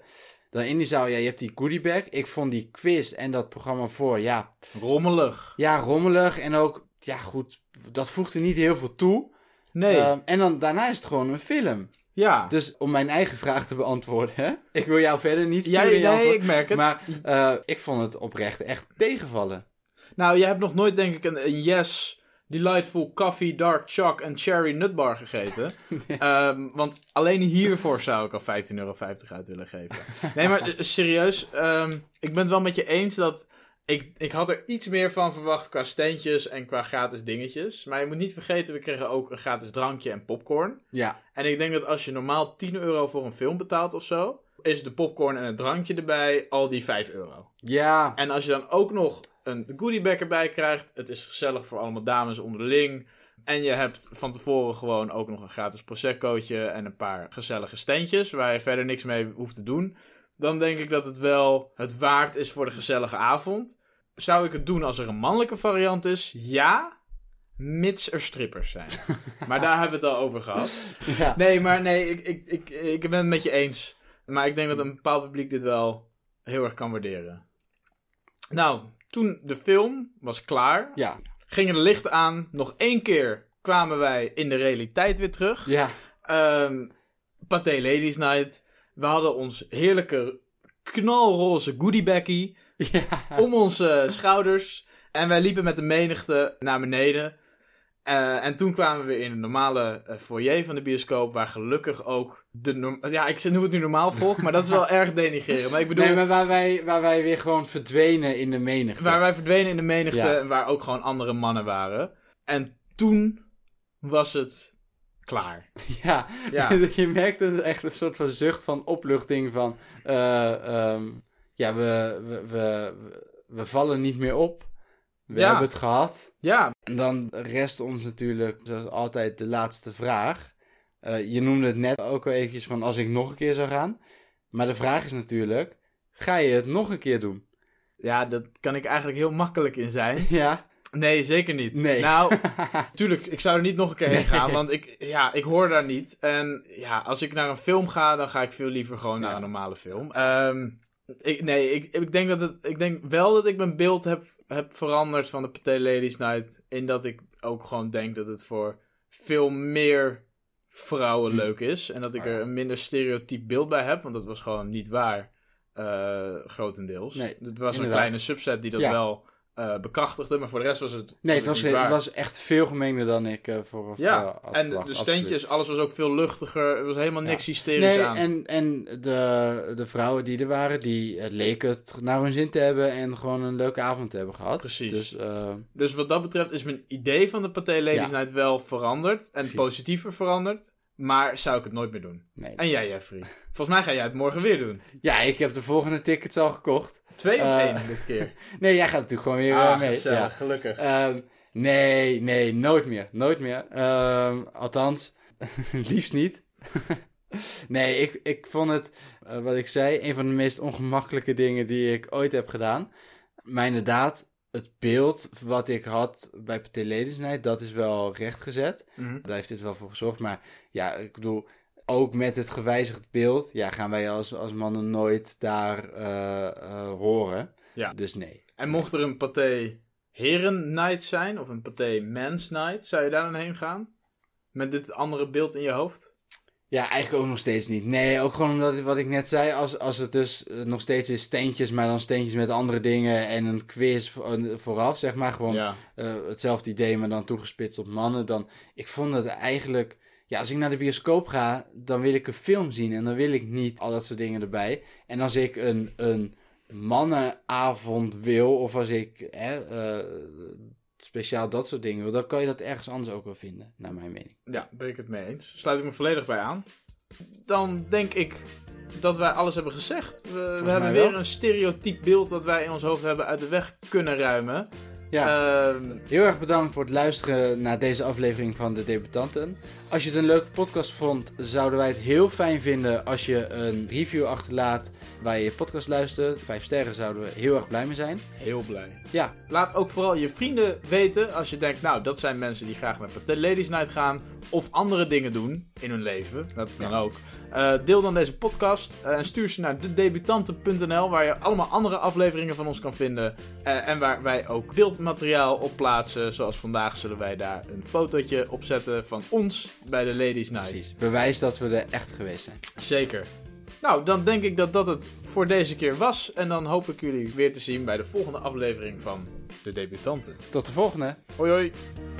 [SPEAKER 2] Dan in die zaal, ja, je hebt die goodie bag. Ik vond die quiz en dat programma voor, ja,
[SPEAKER 1] Rommelig.
[SPEAKER 2] ja, rommelig. En ook, ja, goed, dat voegde niet heel veel toe.
[SPEAKER 1] Nee.
[SPEAKER 2] Ehm, en dan daarna is het gewoon een film.
[SPEAKER 1] ja.
[SPEAKER 2] Dus om mijn eigen vraag te beantwoorden, hè? ik wil jou verder niet sturen
[SPEAKER 1] Jij,
[SPEAKER 2] in je
[SPEAKER 1] nee,
[SPEAKER 2] antwoord.
[SPEAKER 1] ik merk het.
[SPEAKER 2] Maar eh, ik vond het oprecht echt tegenvallen.
[SPEAKER 1] Nou, jij hebt nog nooit, denk ik, een, een Yes, Delightful Coffee, Dark Choc en Cherry Nutbar gegeten. Ehm, want alleen hiervoor zou ik al 15,50 euro uit willen geven. Nee, maar eh, serieus, ehm, ik ben het wel met je eens dat... Ik, ik had er iets meer van verwacht qua steentjes en qua gratis dingetjes. Maar je moet niet vergeten, we kregen ook een gratis drankje en popcorn.
[SPEAKER 2] Ja,
[SPEAKER 1] En ik denk dat als je normaal 10 euro voor een film betaalt of zo... is de popcorn en het drankje erbij al die 5 euro.
[SPEAKER 2] ja,
[SPEAKER 1] En als je dan ook nog een goodiebag erbij krijgt, het is gezellig voor allemaal dames onderling. En je hebt van tevoren gewoon ook nog een gratis proseccootje en een paar gezellige steentjes waar je verder niks mee hoeft te doen. Dan denk ik dat het wel het waard is voor de gezellige avond. Zou ik het doen als er een mannelijke variant is? Ja, mits er strippers zijn. Maar daar hebben we het al over gehad.
[SPEAKER 2] ja.
[SPEAKER 1] Nee, maar nee, ik, ik, ik, ik ben het met je eens. Maar ik denk dat een bepaald publiek dit wel heel erg kan waarderen. Nou, toen de film was klaar,
[SPEAKER 2] ja,
[SPEAKER 1] gingen de lichten aan. Nog één keer kwamen wij in de realiteit weer terug.
[SPEAKER 2] ja.
[SPEAKER 1] Ehm Pathé Ladies Night. We hadden ons heerlijke knalroze goodiebaggie
[SPEAKER 2] ja.
[SPEAKER 1] om onze schouders. En wij liepen met de menigte naar beneden. Eh, en toen kwamen we in een normale eh, foyer van de bioscoop, waar gelukkig ook de... norm- Ja, ik noem het nu normaal volk, maar dat is wel erg denigreren. Maar ik bedoel,
[SPEAKER 2] Nee, maar waar wij, waar wij weer gewoon verdwenen in de menigte.
[SPEAKER 1] waar wij verdwenen in de menigte
[SPEAKER 2] Ja.
[SPEAKER 1] en waar ook gewoon andere mannen waren. En toen was het klaar.
[SPEAKER 2] Ja,
[SPEAKER 1] Ja.
[SPEAKER 2] je merkte echt een soort van zucht van opluchting van... eh, ehm, ja, we, we, we, we vallen niet meer op. We
[SPEAKER 1] Ja.
[SPEAKER 2] hebben het gehad.
[SPEAKER 1] Ja,
[SPEAKER 2] En dan rest ons natuurlijk, zoals altijd, de laatste vraag. Eh, je noemde het net ook al eventjes van als ik nog een keer zou gaan. Maar de vraag is natuurlijk, ga je het nog een keer doen?
[SPEAKER 1] ja, dat kan ik eigenlijk heel makkelijk in zijn.
[SPEAKER 2] Ja.
[SPEAKER 1] Nee, zeker niet.
[SPEAKER 2] Nee.
[SPEAKER 1] Nou, tuurlijk, ik zou er niet nog een keer heen gaan, want ik, ja, ik hoor daar niet. En ja, als ik naar een film ga, dan ga ik veel liever gewoon naar
[SPEAKER 2] Ja.
[SPEAKER 1] een normale film. Ehm, ik, nee, ik, ik, denk dat het, ik denk wel dat ik mijn beeld heb, heb veranderd van de Pathé Ladies Night. In dat ik ook gewoon denk dat het voor veel meer
[SPEAKER 2] Hmm.
[SPEAKER 1] vrouwen leuk is. En
[SPEAKER 2] Oh,
[SPEAKER 1] dat ik er een minder stereotyp beeld bij heb, want dat was gewoon niet waar. eh, grotendeels.
[SPEAKER 2] Nee,
[SPEAKER 1] het was een
[SPEAKER 2] inderdaad.
[SPEAKER 1] kleine subset die dat
[SPEAKER 2] Ja.
[SPEAKER 1] wel eh, bekrachtigde, maar voor de rest was het.
[SPEAKER 2] Nee, het was,
[SPEAKER 1] niet waar.
[SPEAKER 2] het was echt veel gemengder dan ik eh vooraf eh,
[SPEAKER 1] Ja,
[SPEAKER 2] had
[SPEAKER 1] en de-
[SPEAKER 2] verwacht,
[SPEAKER 1] de
[SPEAKER 2] absoluut.
[SPEAKER 1] steentjes, alles was ook veel luchtiger. Er was helemaal
[SPEAKER 2] Ja.
[SPEAKER 1] niks hysterisch
[SPEAKER 2] Nee,
[SPEAKER 1] aan.
[SPEAKER 2] en, en de, de vrouwen die er waren, die eh, leken het naar hun zin te hebben en gewoon een leuke avond te hebben gehad.
[SPEAKER 1] Precies.
[SPEAKER 2] Dus eh,
[SPEAKER 1] Dus wat dat betreft is mijn idee van de Pathé Ladies
[SPEAKER 2] Ja.
[SPEAKER 1] Night wel veranderd. En
[SPEAKER 2] Precies.
[SPEAKER 1] positiever veranderd. Maar zou ik het nooit meer doen.
[SPEAKER 2] nee.
[SPEAKER 1] En jij, Jeffrey? Volgens mij ga jij het morgen weer doen.
[SPEAKER 2] Ja, ik heb de volgende tickets al gekocht.
[SPEAKER 1] Twee of
[SPEAKER 2] Eh,
[SPEAKER 1] één dit keer?
[SPEAKER 2] Nee, jij gaat natuurlijk gewoon weer eh,
[SPEAKER 1] ah,
[SPEAKER 2] mee.
[SPEAKER 1] gezellig,
[SPEAKER 2] Ja.
[SPEAKER 1] gelukkig.
[SPEAKER 2] Ehm, nee, nee, nooit meer. Nooit meer. Ehm, althans, liefst niet. Nee, ik, ik vond het, eh, wat ik zei, een van de meest ongemakkelijke dingen die ik ooit heb gedaan. Maar inderdaad, het beeld wat ik had bij Pathé Ledensnijd, dat is wel rechtgezet.
[SPEAKER 1] Mhm.
[SPEAKER 2] Daar heeft dit wel voor gezorgd. Maar ja, ik bedoel, ook met het gewijzigd beeld, ja, gaan wij als, als mannen nooit daar eh, eh, horen.
[SPEAKER 1] Ja.
[SPEAKER 2] Dus nee.
[SPEAKER 1] En mocht er een Pathé Heren Night zijn, of een Pathé Mens Night, zou je daar dan heen gaan? Met dit andere beeld in je hoofd?
[SPEAKER 2] Ja, eigenlijk ook nog steeds niet. Nee, ook gewoon omdat wat ik net zei, als, als het dus eh, nog steeds is steentjes, maar dan steentjes met andere dingen en een quiz vo- een- vooraf, zeg maar. Gewoon
[SPEAKER 1] Ja.
[SPEAKER 2] eh, hetzelfde idee, maar dan toegespitst op mannen. Dan, ik vond het eigenlijk, ja, als ik naar de bioscoop ga, dan wil ik een film zien en dan wil ik niet al dat soort dingen erbij. En als ik een, een mannenavond wil, of als ik hè, eh, speciaal dat soort dingen wil, dan kan je dat ergens anders ook wel vinden, naar mijn mening.
[SPEAKER 1] Ja, ben ik het mee eens. Sluit ik me volledig bij aan. Dan denk ik dat wij alles hebben gezegd. We, we
[SPEAKER 2] mij
[SPEAKER 1] hebben weer
[SPEAKER 2] wel.
[SPEAKER 1] een stereotyp beeld dat wij in ons hoofd hebben uit de weg kunnen ruimen.
[SPEAKER 2] Ja.
[SPEAKER 1] Ehm,
[SPEAKER 2] Heel erg bedankt voor het luisteren naar deze aflevering van De Debutanten. Als je het een leuke podcast vond, zouden wij het heel fijn vinden als je een review achterlaat waar je je podcast luistert. Vijf sterren zouden we heel erg blij mee zijn.
[SPEAKER 1] heel blij.
[SPEAKER 2] Ja.
[SPEAKER 1] Laat ook vooral je vrienden weten als je denkt, nou, dat zijn mensen die graag naar Pathé Ladies Night gaan of andere dingen doen in hun leven. Dat kan
[SPEAKER 2] Ja.
[SPEAKER 1] ook. Eh, deel dan deze podcast eh, en stuur ze naar dedebutanten.nl waar je allemaal andere afleveringen van ons kan vinden. Eh, en waar wij ook beeldmateriaal op plaatsen. Zoals vandaag zullen wij daar een fotootje op zetten van ons bij de Ladies Night.
[SPEAKER 2] Precies. Bewijs dat we er echt geweest zijn.
[SPEAKER 1] Zeker. Nou, dan denk ik dat dat het voor deze keer was. En dan hoop ik jullie weer te zien bij de volgende aflevering van De Debutanten.
[SPEAKER 2] Tot de volgende.
[SPEAKER 1] Hoi hoi!